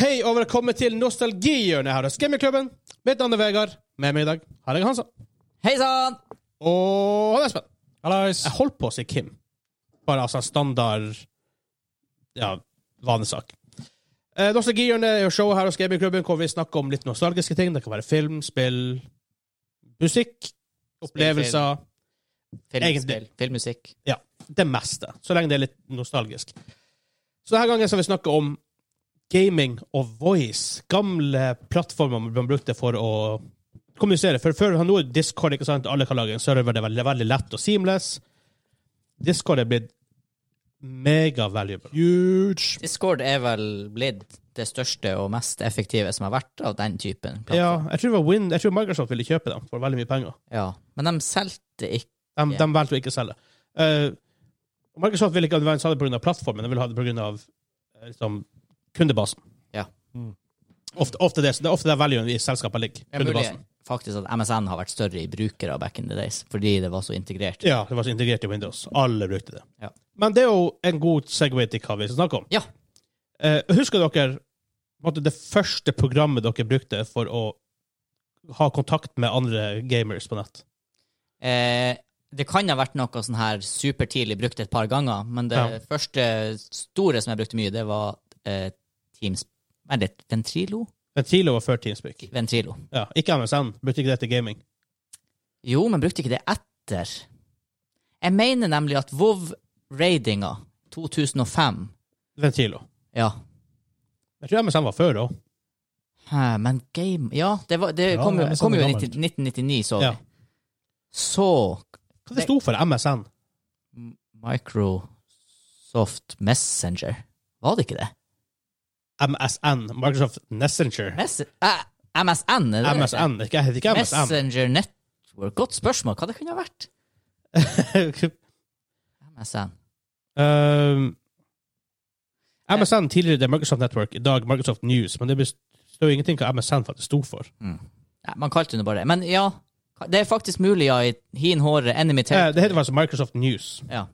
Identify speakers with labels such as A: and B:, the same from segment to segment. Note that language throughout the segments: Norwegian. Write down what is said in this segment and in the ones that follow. A: Hei og velkommen til nostalgihjørnet her hos Gamingklubben. Mitt navn er Vegard. Med meg i dag har jeg Hansa.
B: Hei sann!
A: Og han Espen.
C: Hallais!
A: Jeg holdt på å si Kim. Bare altså standard Ja, vanesak. Eh, nostalgihjørnet er jo showet her hos Gamingklubben hvor vi snakker om litt nostalgiske ting. Det kan være film, spill, musikk, opplevelser.
B: Filmspill.
A: Egentlig.
B: Filmmusikk.
A: Det meste. Så lenge det er litt nostalgisk. Så denne gangen skal vi snakke om gaming og voice. Gamle plattformer man brukte for å kommunisere. For før nå er Discord ikke sant? Alle kan lage en server. Det er veldig, veldig lett og seamless. Discord er blitt mega valuable.
C: Huge!
B: Discord er vel blitt det største og mest effektive som har vært av den typen
A: Ja,
B: plattform.
A: jeg tror, det var Win, jeg tror Microsoft ville kjøpe dem for veldig mye penger.
B: Ja. Men de solgte ikke
A: De,
B: Ja.
A: de valgte å ikke selge. Eh, Microsoft ville ikke advance ha det pga. plattformen, de ville ha det pga. Uh, liksom, kundebasen.
B: Ja.
C: Mm.
A: Ofte, ofte det, så det er ofte der valuen i selskapet ligger.
B: Det er mulig
A: Kundebasen.
B: faktisk at MSN har vært større i brukere back in the days, fordi det var så integrert.
A: Ja, det var så integrert i Windows. Alle brukte det.
B: Ja.
A: Men det er jo en god segway til hva vi skal snakke om.
B: Ja.
A: Eh, husker dere på en måte, det første programmet dere brukte for å ha kontakt med andre gamers på nett?
B: Eh, det kan ha vært noe sånn her supertidlig brukt et par ganger, men det
A: Ja.
B: første store som jeg brukte mye, det var eh, Teams Er det Ventrilo?
A: Ventilo var før Teamspeak.
B: Ventrilo.
A: Ja, ikke MSN. Brukte ikke det til gaming.
B: Jo, men brukte ikke det etter. Jeg mener nemlig at WoW-raidinga 2005
A: Ventilo.
B: Ja.
A: Jeg tror MSN var før òg.
B: Hæ, men game Ja, det, var, det
C: Ja,
B: kom,
C: det er
B: jo- kom jo i
C: sånn
B: 19, 1999, så vi.
A: Ja.
B: Så
A: Hva det sto for MSN?
B: Microsoft Messenger Var det ikke det?
A: MSN, Microsoft Messenger.
B: Mess eh, MSN? Er det det?
A: MSN, ikke, heter ikke MSN.
B: Messenger Network. Godt spørsmål. Hva det kunne ha vært? MSN.
A: um, MSN tidligere det er Microsoft Network, i dag Microsoft News, men det bes- står jo ingenting hva MSN faktisk sto for.
B: Nei, man kalte det bare det. Men ja, det er faktisk mulig, ja, i hin håre, enemy
A: Eh,
B: territory.
A: det heter faktisk Microsoft News.
B: ja.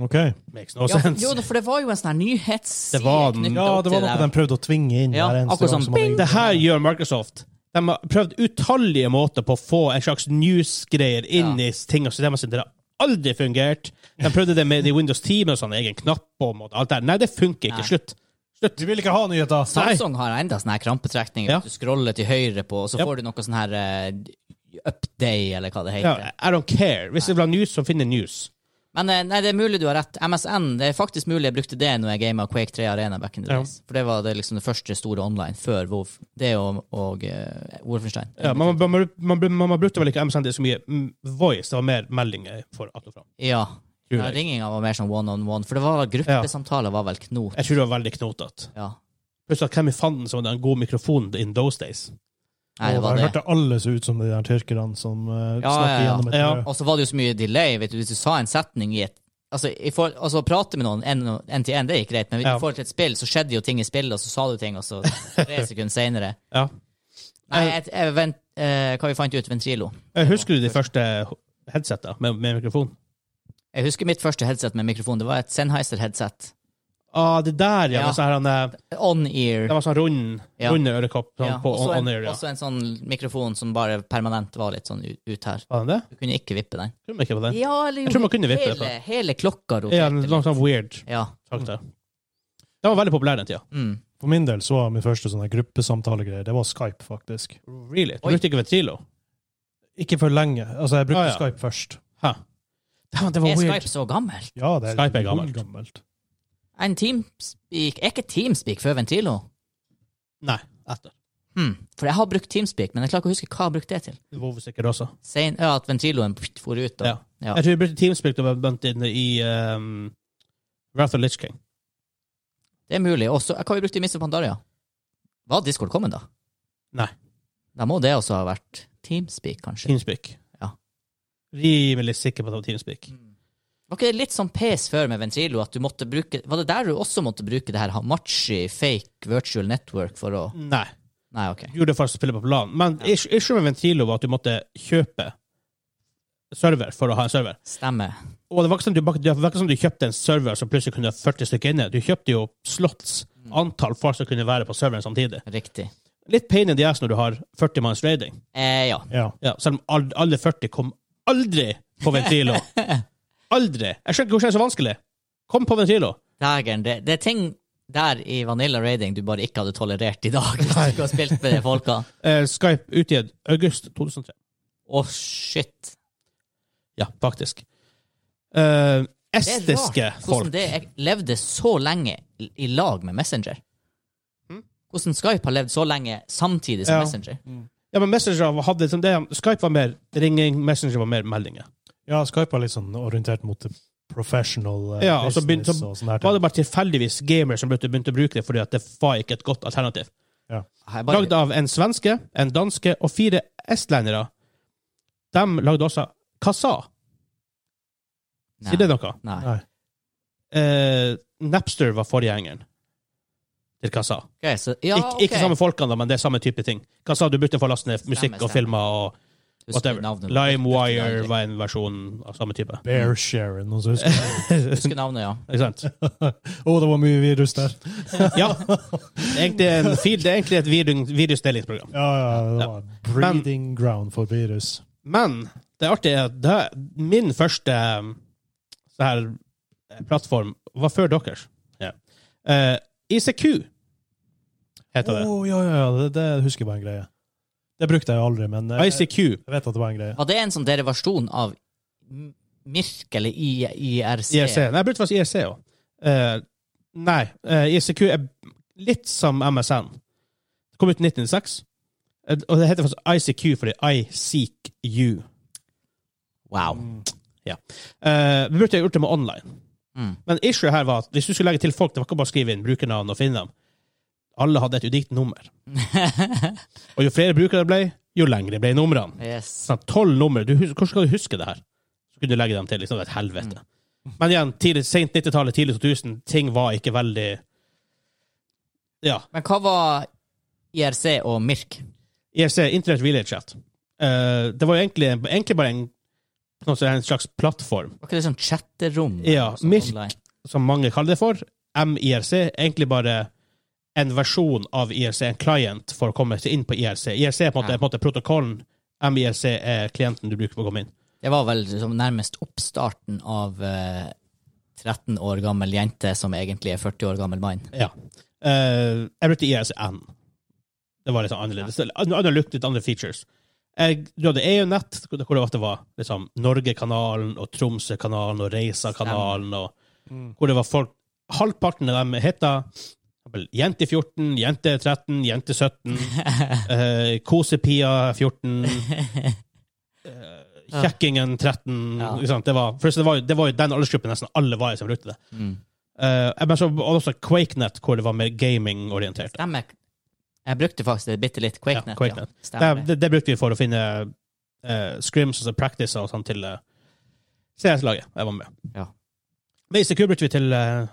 C: Ok.
A: Makes no
B: Ja,
A: sense.
B: jo, for det var jo en sånn her nyhetsside
A: Det var-
B: knyttet
C: Ja,
B: opp
C: det var
B: til
C: noe
B: der.
C: de prøvde å tvinge inn.
B: Ja,
C: hver eneste
B: akkurat
C: gang
B: sånn,
C: som hadde-
B: bing!
A: Det her gjør Microsoft. De har prøvd utallige måter på å få en slags news-greier inn i ting og systemet sitt. Det har aldri fungert. De prøvde det med de Windows 10 med sånn egen knapp på og alt der. Nei, det funker ikke.
B: Nei.
A: Slutt.
C: De ville ikke ha nyheter!
B: Samsung har enda sånne her krampetrekninger.
A: Ja.
B: Du scroller til høyre på, og så
A: Ja.
B: får du noe sånn her eh, upday, eller hva det
A: Ja,
B: heter.
A: I don't care. Hvis det blir news, så finner news.
B: Men eh, nei, det er mulig du har rett. MSN, det er faktisk mulig jeg brukte det når jeg gama Quake 3 Arena back in the
A: Ja.
B: days. For det var det liksom det første store online før WoW. Det og, og eh, Wolfenstein.
A: Ja, man, man, man, man, man brukte vel ikke MSN til så mye mm, voice. Det var mer meldinger for att og fram.
B: Ja.
A: Tror
B: ja
A: jeg.
B: Ringinga var mer sånn one on one, for det var gruppesamtaler var vel knot.
A: Jeg tror det var veldig knotete.
B: Ja.
A: Plutselig, hvem i fanden som hadde en god mikrofon in those days?
B: Nei, det var
C: Jeg
B: det.
C: hørte alle så ut som de der tyrkerne som eh,
B: Ja,
C: snakker
B: ja, ja.
C: gjennom et eh,
A: Ja.
C: brød.
B: Og så var det jo så mye delay, vet du, hvis du sa en setning i et Altså, i forhold, altså å prate med noen en- en til en, det gikk greit, men
A: Ja.
B: i forhold til et spill, så skjedde jo ting i spillet, og så sa du ting, og så tre sekunder senere
A: Ja.
B: Nei, et, et, vent, eh, hva vi fant ut? Ventrilo.
A: Eh, Husker du de første headsetta med, med mikrofon?
B: Jeg husker mitt første headset med mikrofon. Det var et Sennheiser-headset.
A: Ah, det der, ja.
B: Ja.
A: Med sånn her, han, eh, Det
B: On-ear.
A: var sånn rund,
B: Ja.
A: runde ørekopp sånn,
B: Ja.
A: på
B: Også
A: on,
B: en,
A: on air. Ja.
B: også en sånn mikrofon som bare permanent var litt sånn ut, ut her.
A: Var den det?
B: Du kunne ikke vippe den.
A: Tror man ikke på den.
B: Ja, eller
A: Jeg tror man kunne vippe det på.
B: hele, hele klokka
A: Ja,
B: roterte.
A: det
B: litt.
A: var sånn weird
B: Ja.
A: fakta. Den var veldig populær den tida.
B: Mm.
C: For min del så var min første sånne gruppesamtalegreier, det var Skype, faktisk.
A: Really? Du
B: Oi.
A: brukte ikke Ventrilo?
C: Ikke for lenge. Altså, jeg brukte
A: Ah, ja.
C: Skype først.
A: Hæ. Dæven, det var
B: Er
A: weird.
B: Skype så gammel?
C: Ja, det er
A: Skype er gammelt.
C: gammelt.
B: En Teamspeak Er ikke Teamspeak før Ventrilo?
A: Nei, etter.
B: Hmm. For jeg har brukt Teamspeak, men jeg klarer ikke å huske hva jeg brukte det til.
A: Vov sikkert også.
B: Sein, ja, at ventriloen pft, for ut. Da.
A: Ja.
B: Ja.
A: Jeg tror vi brukte Teamspeak da vi begynte inne i um, Wrath of Lich King.
B: Det er mulig. Også, hva vi brukte i Mr. Pandaria? Var Discord kommet, da?
A: Nei.
B: Da må det også ha vært Teamspeak, kanskje.
A: Teamspeak.
B: Ja. Mm.
A: Rimelig sikker på at det var Teamspeak.
B: Var ikke det litt sånn pes før med Ventrilo at du måtte bruke Var det der du også måtte bruke det her Hamachi fake virtual network for å
A: Nei.
B: Nei, OK.
A: Gjorde det for å spille på plan. Men
B: Ja.
A: issue- issue med Ventrilo var at du måtte kjøpe server for å ha en server.
B: Stemmer.
A: Og det var ikke sånn du, bak- det var ikke sånn du kjøpte en server som plutselig kunne ha 40 stykker inne. Du kjøpte jo slots
B: Mm.
A: antall folk som kunne være på serveren samtidig.
B: Riktig.
A: Litt pain in the ass når du har 40 manns raiding.
B: Eh, ja.
C: Ja.
A: Ja, selv om all- alle 40 kom aldri på Ventrilo. Aldri! Jeg skjønner ikke hvordan det er så vanskelig. Kom på Ventrilo.
B: Dægeren, det, det er ting der i Vanilla Raiding du bare ikke hadde tolerert i dag. Hvis du ikke har spilt med de folka.
A: Eh, Skype utgitt august 2003.
B: Å, shit.
A: Ja, faktisk. Eh,
B: Det er
A: estiske
B: rart
A: folk.
B: hvordan det jeg levde så lenge i i lag med Messenger. Hm?
A: Mm.
B: Hvordan Skype har levd så lenge samtidig som
A: Ja.
B: Messenger.
A: Ja, men Messenger hadde liksom det. Skype var mer ringing, Messenger var mer meldinger.
C: ja, Skype var litt sånn orientert mot det professional eh,
A: Ja, og så
C: business
A: begynte-
C: og sånne her
A: Det var
C: ting.
A: det bare tilfeldigvis gamere som begynte, begynte å bruke det, fordi at det var ikke et godt alternativ.
B: Jeg bare,
A: Lagd av en svenske, en danske og fire estlendere. De lagde også Kasa. Sier det noe?
B: Nei.
C: Nei.
A: Eh, Napster var forgjengeren til Kasa.
B: Ok, så, ja,
A: Ikke- Ikke samme folkene, da, men det er samme type ting. Kasa, du brukte for å laste ned musikk og
B: stemmer.
A: filmer og whatever. LimeWire var en versjon av samme type.
C: Bearshare, noen som husker det?
B: Husker navnet, ja.
A: Ikke sant?
C: sånn. Å, det var mye virus der.
A: Ja. Det er egentlig, en fil, det er egentlig et virus- virusdelingsprogram.
C: Ja, ja, det var breeding ground for virus.
A: Men det artige er at det- min første um, så her eh, plattform var før deres. Ja. Eh, ICQ heter det.
C: Å, ja, ja, ja, det, det husker jeg var en greie. Det brukte jeg aldri, men eh, jeg,
A: ICQ.
C: vet at det var en greie.
B: Var det en sånn derivasjon av M- Mirk eller I, IRC?
A: IRC. E Nei, jeg brukte faktisk IRC òg. nei, eh, ICQ er litt som MSN. Det kom ut i 1996, Eh, og det heter faktisk ICQ fordi I seek you.
B: Wow.
A: Eh, vi burde ha gjort det med online.
B: Mm.
A: Men issue her var at hvis du skulle legge til folk, det var ikke bare å skrive inn brukernavn og finne dem. Alle hadde et unikt nummer. og jo flere brukere det ble, jo lengre ble numrene.
B: Yes.
A: Sånn, Tolv numre. Du, hus- hvordan skal du huske det her? Så kunne du legge dem til. liksom, Det er et helvete. Men igjen, tidlig, sent 90-tallet, tidlig 2000, ting var ikke veldig Ja.
B: Men hva var IRC og Mirk?
A: IRC, Internet E, Relay Chat, Eh, det var jo egentlig, egentlig bare en, noe som er en slags plattform.
B: Var ikke det sånn chatterom?
A: Ja,
B: Sånn
A: Mirk.
B: online?
A: som mange kaller det for, MIRC, er egentlig bare en versjon av IRC, en client, for å komme seg inn på IRC. IRC er på en måte,
B: Ja.
A: på en måte protokollen, MIRC er klienten du bruker for å komme inn.
B: Det var vel liksom nærmest oppstarten av eh, 13 år gammel jente som egentlig er 40 år gammel mann.
A: Ja. Eh, jeg brukte IRCN. Det var litt sånn annerledes. An- Andre look, litt andre features. Jeg, du hadde EU-nett, hvor det hvor det ofte var liksom, Norgekanalen og Tromsøkanalen og Reisa-kanalen, og hvor det var folk Halvparten av dem heta Jente 14, Jente 13, Jente 17, eh, Kosepia 14 eh, Kjekkingen 13
B: Ja.
A: ikke sant? Det, var, for det, var, jo- det var jo den aldersgruppen nesten alle var i som brukte det.
B: Mm.
A: Eh, men så var det også QuakeNet, hvor det var mer gaming-orientert.
B: Stemmer. Jeg brukte faktisk det bitte litt. QuakeNet.
A: Ja, QuakeNet.
B: Stemmer.
A: Det, det, det brukte vi for å finne eh, scrims og practice og sånn til eh, CS-laget jeg var med.
B: Ja.
A: Men ICQ brukte vi til eh,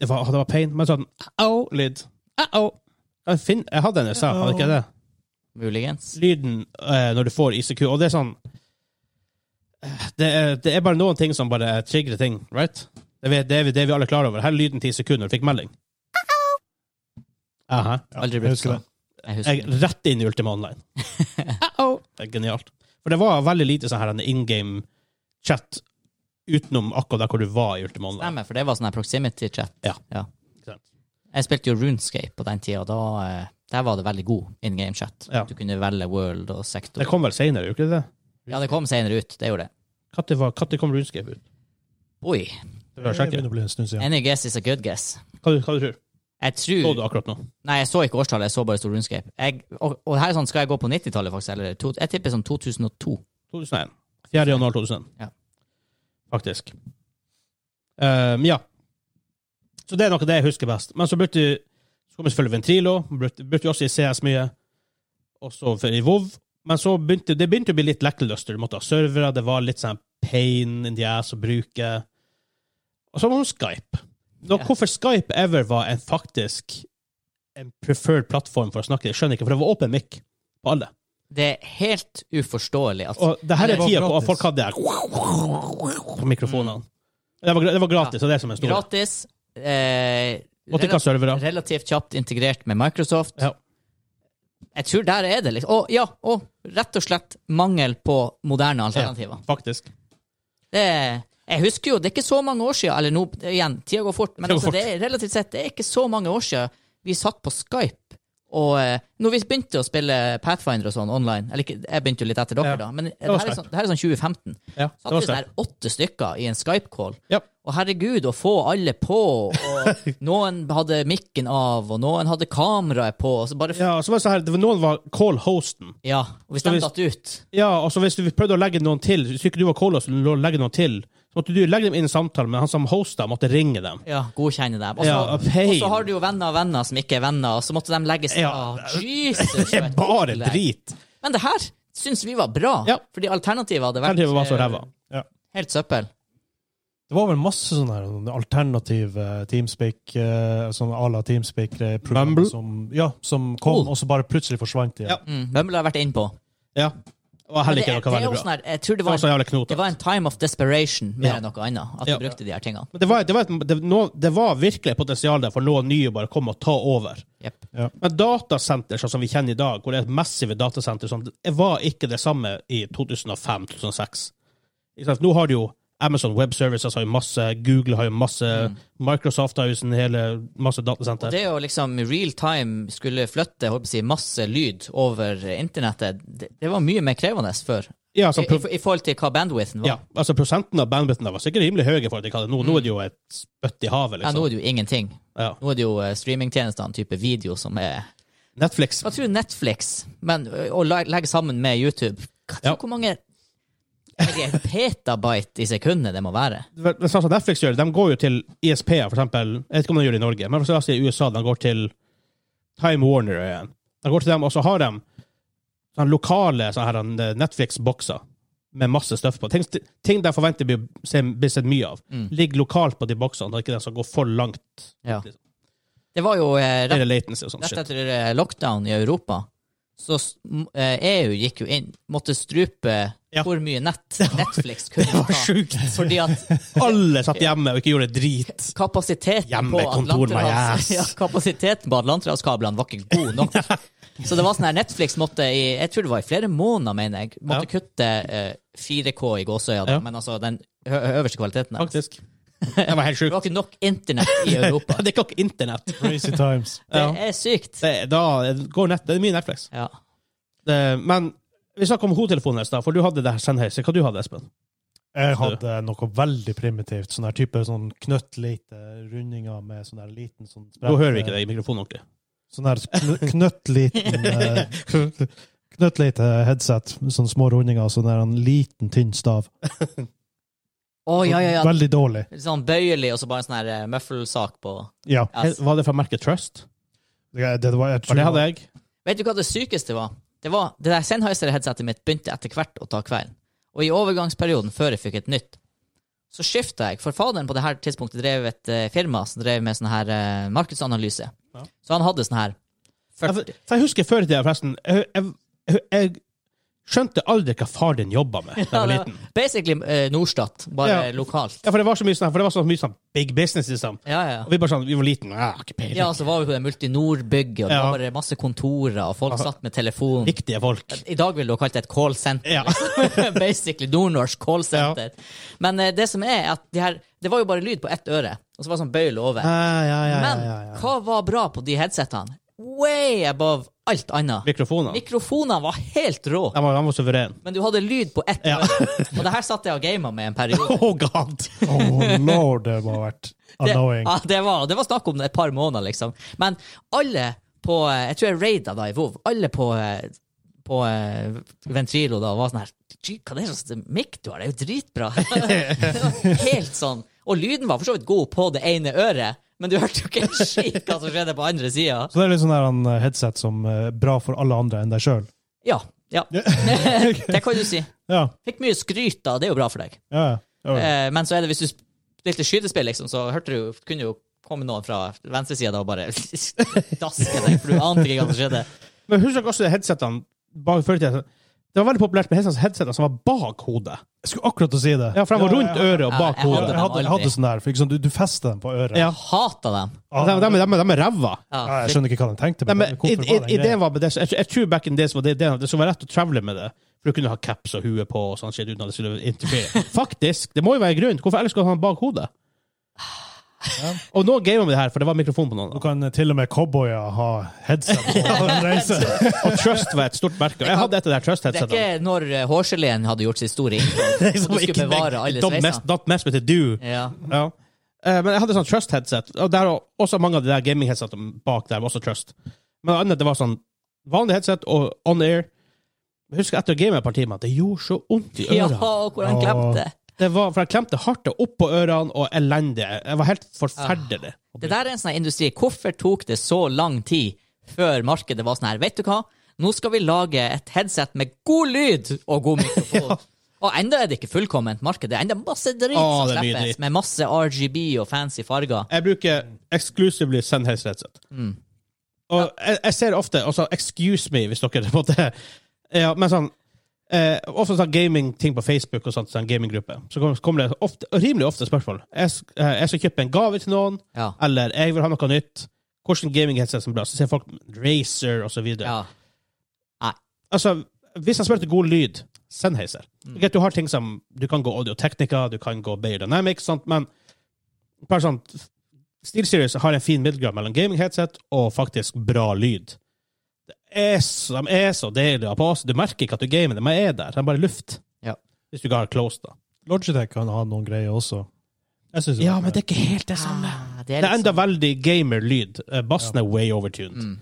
A: det, var, det var pain, men sånn au-lyd. Au! Jeg, finn- jeg hadde en i USA, hadde ikke jeg det?
B: Muligens.
A: Lyden eh, når du får ICQ, og det er sånn eh, det er, det er bare noen ting som bare trigger ting, right? Det er, det er, vi- det er vi alle klar over. Her er lyden til ICQ når du fikk melding. Aha.
C: Ja,
B: Aldri
C: jeg
B: brukt
C: husker
B: sånn.
C: det.
B: Jeg husker
A: Jeg,
B: det.
A: rett inn i Ultima Online. Uh-oh. Det er genialt. For det var veldig lite sånn her in game chat utenom akkurat der hvor du var i Ultima Online.
B: Stemmer, for det var sånn her proximity chat.
A: Ja. Ikke sant?
B: Jeg spilte jo Runescape på den tida, og da eh, der var det veldig god in game chat.
A: Ja.
B: Du kunne velge world og sektor.
A: Det kom vel senere, gjorde ikke det?
B: Ja, det kom senere ut. Det gjorde det.
A: Når var- når kom Runescape ut?
B: Oi.
A: Det
C: Det
A: bør jeg sjekke.
C: begynner å bli en stund siden.
B: Any guess is a good guess.
A: Hva, du- hva du tror du?
B: Jeg
A: Så
B: tror
A: du akkurat nå?
B: Nei, jeg så ikke årstallet, jeg så bare stor Runescape. Jeg, og, og her er sånn, skal jeg gå på 90-tallet, faktisk? Eller to, jeg tipper sånn 2002.
A: 2001. 4. januar 2001.
B: Ja.
A: Faktisk. Ehm, ja. Så det er noe av det jeg husker best. Men så brukte vi så kom vi selvfølgelig Ventrilo, brukte, brukte vi også i CS mye, også for, i WoW. Men så begynte det begynte å bli litt lackluster. Du måtte ha servere, det var litt sånn pain in the ass å bruke. Og så var det Skype. Nå,
B: Ja.
A: Hvorfor Skype ever var en faktisk en preferred plattform for å snakke, jeg skjønner ikke, for det var åpen mic på alle.
B: Det er helt uforståelig at
A: Og det her
B: Det
A: er
C: var
A: tida på at
C: gratis.
A: folk hadde på mikrofonene. Det var, gra- det var gratis, og det er som en stor
B: gratis eh,
A: 80K servere.
B: relativt kjapt integrert med Microsoft.
A: Ja.
B: Jeg tror der er det, liksom. Og ja, og rett og slett mangel på moderne alternativer.
A: Faktisk.
B: Det, jeg husker jo, det er ikke så mange år siden, eller nå, det- igjen, tida går fort, men
A: Det går
B: altså, det er relativt sett, det er ikke så mange år siden vi satt på Skype, og eh, når vi begynte å spille Pathfinder og sånn online, eller ikke, jeg begynte jo litt etter dere
A: Ja.
B: da, men det,
A: var
B: her er
A: Skype.
B: sånn, det her er sånn 2015.
A: Ja, det var
B: Satt vi sånn
A: sterkt.
B: her åtte stykker i en Skype-call,
A: Ja.
B: og herregud, å få alle på, og noen hadde mikken av, og noen hadde kameraet på, og så bare, ja,
A: Ja, så var det sånn her, det var- noen var call-hosten.
B: og vi
A: Så hvis-
B: stemte at ut.
A: Ja, og så hvis du prøvde å legge noen til, hvis ikke du var call-host, du legge noen til, så måtte du legge dem inn i samtalen, men han som hosta måtte ringe dem.
B: Ja, godkjenne dem. Og så,
A: Ja,
B: og
A: pain.
B: så har du jo venner av venner som ikke er venner, og så måtte de legges
A: Ja.
B: av.
A: Det
B: Jesus, for
A: er
B: et
A: bare
B: opplegg.
A: drit.
B: Men det her syns vi var bra,
A: Ja.
B: fordi alternativet hadde vært
A: Alternativet var så
B: eh,
A: ræva.
C: Ja.
B: helt søppel.
C: Det var vel masse sånne her, sånne alternative eh, Teamspeak, eh, sånn à la Teamspeak-program
A: Mumble.
C: som, ja, som kom,
A: Cool.
C: og så bare plutselig forsvant de.
A: Ja.
B: Mm, Bumble har jeg vært innpå.
A: Ja. Og
B: Men
A: heller
B: det,
A: ikke
B: er-
A: noe
B: det er
A: veldig
B: jo
A: bra.
B: sånn her, jeg tror det
A: Det var
B: var,
A: så
B: en,
A: jævlig knotete.
B: det var en time of desperation mer
A: Ja.
B: enn noe annet, at
A: Ja.
B: du brukte de her tingene.
A: Men det var, det, var et, det, nå- det var virkelig et potensial der for noen nye bare kom og ta over.
B: Jep.
A: Men datasenter sånn som vi kjenner i dag, hvor det er et massive datasenter, sånn, det var ikke det samme i 2005-2006. Nå har du jo Amazon Web Services har jo masse, Google har jo masse, Microsoft har jo sin hele masse datasenter.
B: Mm. Det å liksom i real time skulle flytte jeg håper å si, masse lyd over internettet, det, det var mye mer krevende før.
A: ja,
B: I,
A: sånn,
B: i,
A: pro
B: I forhold til hva bandwidthen var.
A: ja, altså prosenten av bandwidthen var sikkert rimelig høy i forhold til hva det er nå. Nå er det jo et spytt i havet,
B: Mm. Ja, nå
A: liksom.
B: er det jo ingenting.
A: Ja.
B: Nå er det jo eh, streamingtjenestene, type video, som er
A: Netflix.
B: Jeg tror Netflix, men ø, å la- legge sammen med YouTube Hva tror
A: Ja.
B: du hvor mange er det petabyte i sekundet det må være?
A: Vel, men sånn som Netflix gjør, det, de går jo til ISP-er, for eksempel. Jeg vet ikke om de gjør det i Norge, men for eksempel i USA, de går til Time Warner igjen. De går til dem, og så har de sånne lokale sånne her, eh, Netflix-bokser med masse støff på. Ting, ting de forventer blir, se- blir sett mye av.
B: Mm.
A: Ligger lokalt på de boksene, og ikke de som går for langt.
B: Ja. Det var jo eh,
A: Det
B: rett,
A: er latency og sånn
B: rett
A: shit.
B: etter eh, lockdown i Europa, så s- m- eh, EU gikk jo inn, måtte strupe
A: Ja.
B: hvor mye nett Netflix kunne
A: Det var
B: ta.
A: sjukt!
B: Fordi at
A: Alle satt hjemme og ikke gjorde drit.
B: kapasiteten
A: Hjemme,
B: på
A: kontor, my
B: Atlanterhavs-
A: ass.
B: ja, kapasiteten på Atlanterhavskablene var ikke god nok. Så det var sånn her Netflix måtte i jeg tror det var i flere måneder, mener jeg, måtte kutte eh, 4K i gåsøya, da,
A: Ja.
B: men altså den ø- øverste kvaliteten. der.
A: Faktisk. Det var helt
B: Det var
A: sjukt.
B: ikke nok internett i Europa.
A: Det er ikke nok internett.
C: Crazy times.
B: Det
A: Ja.
B: er sykt.
A: Det, da går nett, det er mye Netflix.
B: Ja.
A: Det, men vi snakket om hodetelefonen i stad, for du hadde det her Sennheiser. Hva du hadde Espen?
C: Jeg hadde noe veldig primitivt. Sånn her type sånn knøttlite rundinger med sånn her liten sånn
A: Nå hører vi ikke det i mikrofonen ordentlig.
C: Sånn her kn- knøttliten eh, Knøttlite headset, sånne små rundinger og sånn her en liten, tynn stav.
B: Å, ja, ja, ja.
C: Veldig dårlig.
B: Litt Sånn bøyelig, og så bare en sånn her eh, møffelsak på Ja,
C: Ja.
A: He- Var det fra merket Trust?
C: Det, det var, jeg
A: For
C: tror
A: det hadde jeg.
B: Vet du hva det sykeste var? Det var, det der Sennheiser-headsetet mitt begynte etter hvert å ta kvelden. Og i overgangsperioden før jeg fikk et nytt, så skifta jeg. For faderen på det her tidspunktet drev et eh, firma som drev med sånn her eh, markedsanalyse.
A: Ja.
B: Så han hadde sånn her
A: Jeg,
B: 40
A: for jeg husker før i tida, forresten. Jeg, jeg, jeg, jeg skjønte aldri hva far din jobba med da jeg var
B: Ja, det
A: liten.
B: var Basically eh, Norstat, bare
A: Ja.
B: lokalt.
A: Ja, for det var så mye sånn, for det var så mye sånn big business, liksom.
B: Ja, ja.
A: Og vi bare sånn, vi var liten, ja, ikke peiling.
B: Ja, så var vi på det Multinor-bygget, og det
A: Ja.
B: var bare masse kontorer, og folk satt med telefon.
A: Viktige folk.
B: I dag ville du ha kalt det et callsenter.
A: Ja.
B: Basically Nordnorsk callsenter. Men eh, det som er at de her, det var jo bare lyd på ett øre, og så var det sånn bøyle over.
A: Ja, Ah, ja, ja,
B: Men
A: ja, ja.
B: hva var bra på de headsetene? Way above alt annet.
A: Mikrofonene.
B: Mikrofonene var helt rå,
A: De var, de var suverene.
B: men du hadde lyd på ett
A: Ja.
B: øre. Og det her satt jeg og gama med en periode.
A: Oh god!
C: Oh lord, det må ha vært
B: Det,
C: annoying.
B: ja, det, var, det var snakk om et par måneder, liksom. Men alle på eh, Jeg tror jeg raida da i Vov. Alle på, eh, på eh, Ventrilo da var sånn her «Gud, Hva er det slags mikk du har? Det er jo dritbra! Det var Helt sånn. Og lyden var for så vidt god på det ene øret, men du hørte jo ikke en skit hva som skjedde på andre sida.
C: Så det er litt sånn her en headset som er bra for alle andre enn deg sjøl.
B: Ja. ja. det kan du si.
C: Ja,
B: Fikk mye skryt da, det er jo bra for deg.
C: ja, ja.
B: Eh, men så er det hvis du spilte skytespill, liksom, så hørte du, kunne jo komme noen fra venstresida og bare daske deg, for du ante ikke hva som skjedde.
A: Men husk dere også headsetene. Bare før i tida. Det var veldig populært med headset- headseter som var bak hodet.
C: Jeg skulle akkurat å si det.
A: Ja, For de var rundt
C: jeg,
A: øret og
B: Ja,
A: bak
B: jeg hadde
C: jeg,
A: hodet.
C: hadde, jeg hadde sånn der, for ikke sant, du, du fester den på øret.
A: Ja.
B: Jeg hater dem.
C: Ah,
A: De, de, de, de er ræva.
B: Ja,
C: ja, jeg skjønner ikke hva de tenkte.
A: Nei,
C: men
A: men i-
C: hvorfor var
A: i-
C: det en greie?
A: ideen var med det, så jeg, jeg tror back in days var det ideen at det skulle være rett å travle med det. For du kunne ha caps og hue på og sånn shit uten at det skulle interfere. Faktisk! Det må jo være en grunn. Hvorfor ellers skal du ha den bak hodet?
C: Ja.
A: Og noen gamet med det her, for det var mikrofon på noen.
C: Du kan eh, til og med cowboyer ha headset på en reise.
A: Og Trust var et stort merke. Og jeg hadde et av de
B: Det er
A: Trust-headsetene.
B: ikke når eh, hårgeleen hadde gjort sin store inntog.
A: Det er
B: Du
A: som
B: skulle
A: ikke meg.
B: bevare alle
A: Don't mess,
B: sveisene.
A: not mess with the do.
B: Ja.
A: Ja. Eh, Men jeg hadde sånn Trust-headset, og der var også mange av de der gaming-headsetene bak der var også Trust. Men det andre, det var sånn vanlig headset og on air. Jeg husker etter å game et par timer, det gjorde så vondt i
B: ja,
A: ørene.
B: og hvor han glemte.
A: Det var, for jeg klemte hardt og opp på ørene og elendig. Jeg var helt forferdelig.
B: Det der er en sånn her industri. Hvorfor tok det så lang tid før markedet var sånn her, vet du hva, nå skal vi lage et headset med god lyd og god mikrofon. Og enda er det ikke fullkomment marked. Det er enda masse drit
A: Å,
B: som
A: det er mye
B: slippes,
A: drit.
B: med masse RGB og fancy farger.
A: Jeg bruker exclusively Sennheis headset.
B: Mm.
A: Og jeg, jeg ser ofte også Excuse me, hvis dere på en måte ja, Men sånn eh, Også sånn gaming-ting på Facebook og sånt, sånn gaminggruppe. Så kommer- kommer det ofte, rimelig ofte spørsmål. Jeg, sk- eh, jeg skal kjøpe en gave til noen,
B: Ja.
A: eller jeg vil ha noe nytt. Hvordan gaming-headset som blir bra? Så ser folk Racer og så videre.
B: ja.
A: Altså, hvis jeg spør etter god lyd, Sennheiser
B: Mm.
A: Greit, Du har ting som Du kan gå Audio Technica, du kan gå Bayer Dynamics, sant? men bare sånn SteelSeries har en fin middelgrad mellom gaming-headset og faktisk bra lyd. Det er så, de er så deilige på oss. Du merker ikke at du gamer, de er der. De er bare luft.
B: Ja.
A: Hvis du ikke har close, da.
C: Logitech kan ha noen greier også. Jeg synes det
A: Ja,
C: var
A: men
C: greit.
A: det er ikke helt det samme.
B: Ah,
A: Det er
B: litt
A: enda
B: sånn-
A: veldig gamer-lyd. Eh, Bassen er way overtuned.
B: Mm.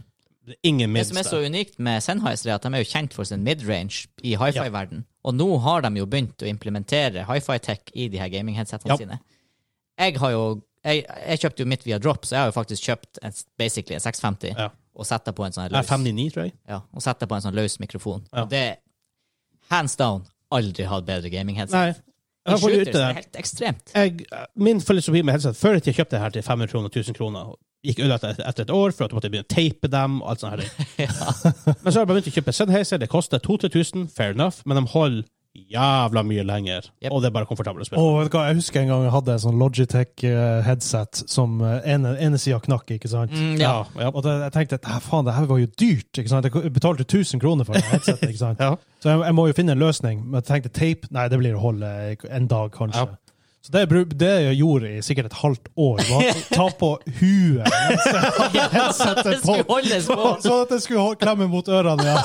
A: Det er Ingen
B: Det som er
A: minst
B: så
A: der.
B: unikt med Sennheiser, er at de er jo kjent for sin midrange i hifi-verden. Og nå har de jo begynt å implementere hifi-tech i de her gaming-headsetene
A: Ja.
B: sine. Jeg har jo jeg, jeg kjøpte jo mitt via drop, så jeg har jo faktisk kjøpt en, basically en 650
A: Ja.
B: og satt det på en sånn her
A: Eh,
B: løs,
A: 599, tror jeg.
B: ja, og satt det på en sånn løs mikrofon.
A: Ja.
B: Og det hands down aldri hatt bedre gaming-headset.
A: Nei.
B: I
A: Jeg får
B: shooters
A: ut det
B: det
A: der.
B: er helt ekstremt.
A: jeg, min filosofi med headset Før i tida kjøpte jeg her til 500 kroner 1000 kroner. Gikk ødelagt etter, etter et år for at du måtte begynne å tape dem. og alt sånt her. Men så har jeg bare begynt å kjøpe Sennheiser. Det koster 2000-3000, fair enough, men de holder jævla mye lenger.
B: Yep.
A: Og det er bare komfortabelt å spille.
C: Og vet du hva, Jeg husker en gang jeg hadde en sånn Logitech-headset som eh, ene, ene sida knakk. ikke sant?
B: Mm, ja.
A: ja.
C: Og da, jeg tenkte at "Hæ, faen, det her var jo dyrt. ikke sant? Jeg betalte 1000 kroner for det headsetet. ikke sant?
A: Ja.
C: Så jeg, jeg må jo finne en løsning. Men jeg tenkte tape nei, det blir å holde en dag, kanskje.
A: Ja.
C: Så det, jeg bru- det jeg gjorde i sikkert et halvt år, var å ta på huet mens jeg hadde
B: Det
C: headsetet på.
B: skulle holdes på.
C: Sånn at jeg skulle hold- klemme mot ørene. ja.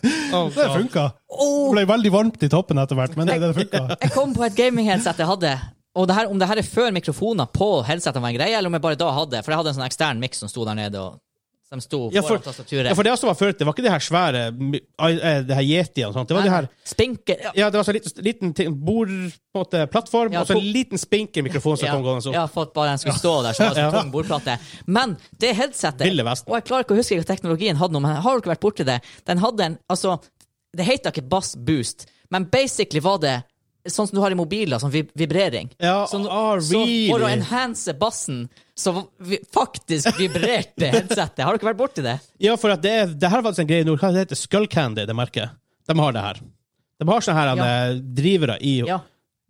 C: Det funka. Det ble veldig varmt i toppen etter hvert, men det, det funka.
B: Jeg kom på et gaming-headset jeg hadde. Og det her, om det her er før mikrofoner på headsetene var en greie, eller om jeg bare da hadde For jeg hadde en sånn ekstern miks som sto der nede, og som sto
A: Ja, for-
B: foran tastaturet.
A: Ja, for det også var før, det var ikke de her svære my- eh, det her yetiene og sånt. Det var de her
B: Spinker Ja,
A: ja, det var så liten, liten ting- bord, på en måte, plattform,
B: Ja,
A: og så en
B: to-
A: liten spinkermikrofon som
B: ja,
A: kom gående opp.
B: ja, for at bare den skulle stå der, så var det så tung bordplate. Men det headsetet
A: Ville Vesten.
B: Og jeg klarer ikke å huske hva teknologien hadde nå, men har dere vært borti det? Den hadde en Altså, det heter ikke bass boost, men basically var det sånn som du har i mobiler, sånn vib vibrering.
A: Ja,
B: Så,
A: ah,
B: så for å
A: really?
B: enhance bassen, så vi- faktisk vibrerte headsetet. Har dere vært borti det?
A: Ja, for at det, er- det her var faktisk en greie i Nord. Hva det heter Skull Candy, det merket? De har det her. De har sånne her
B: Ja.
A: eh, drivere i
B: Ja.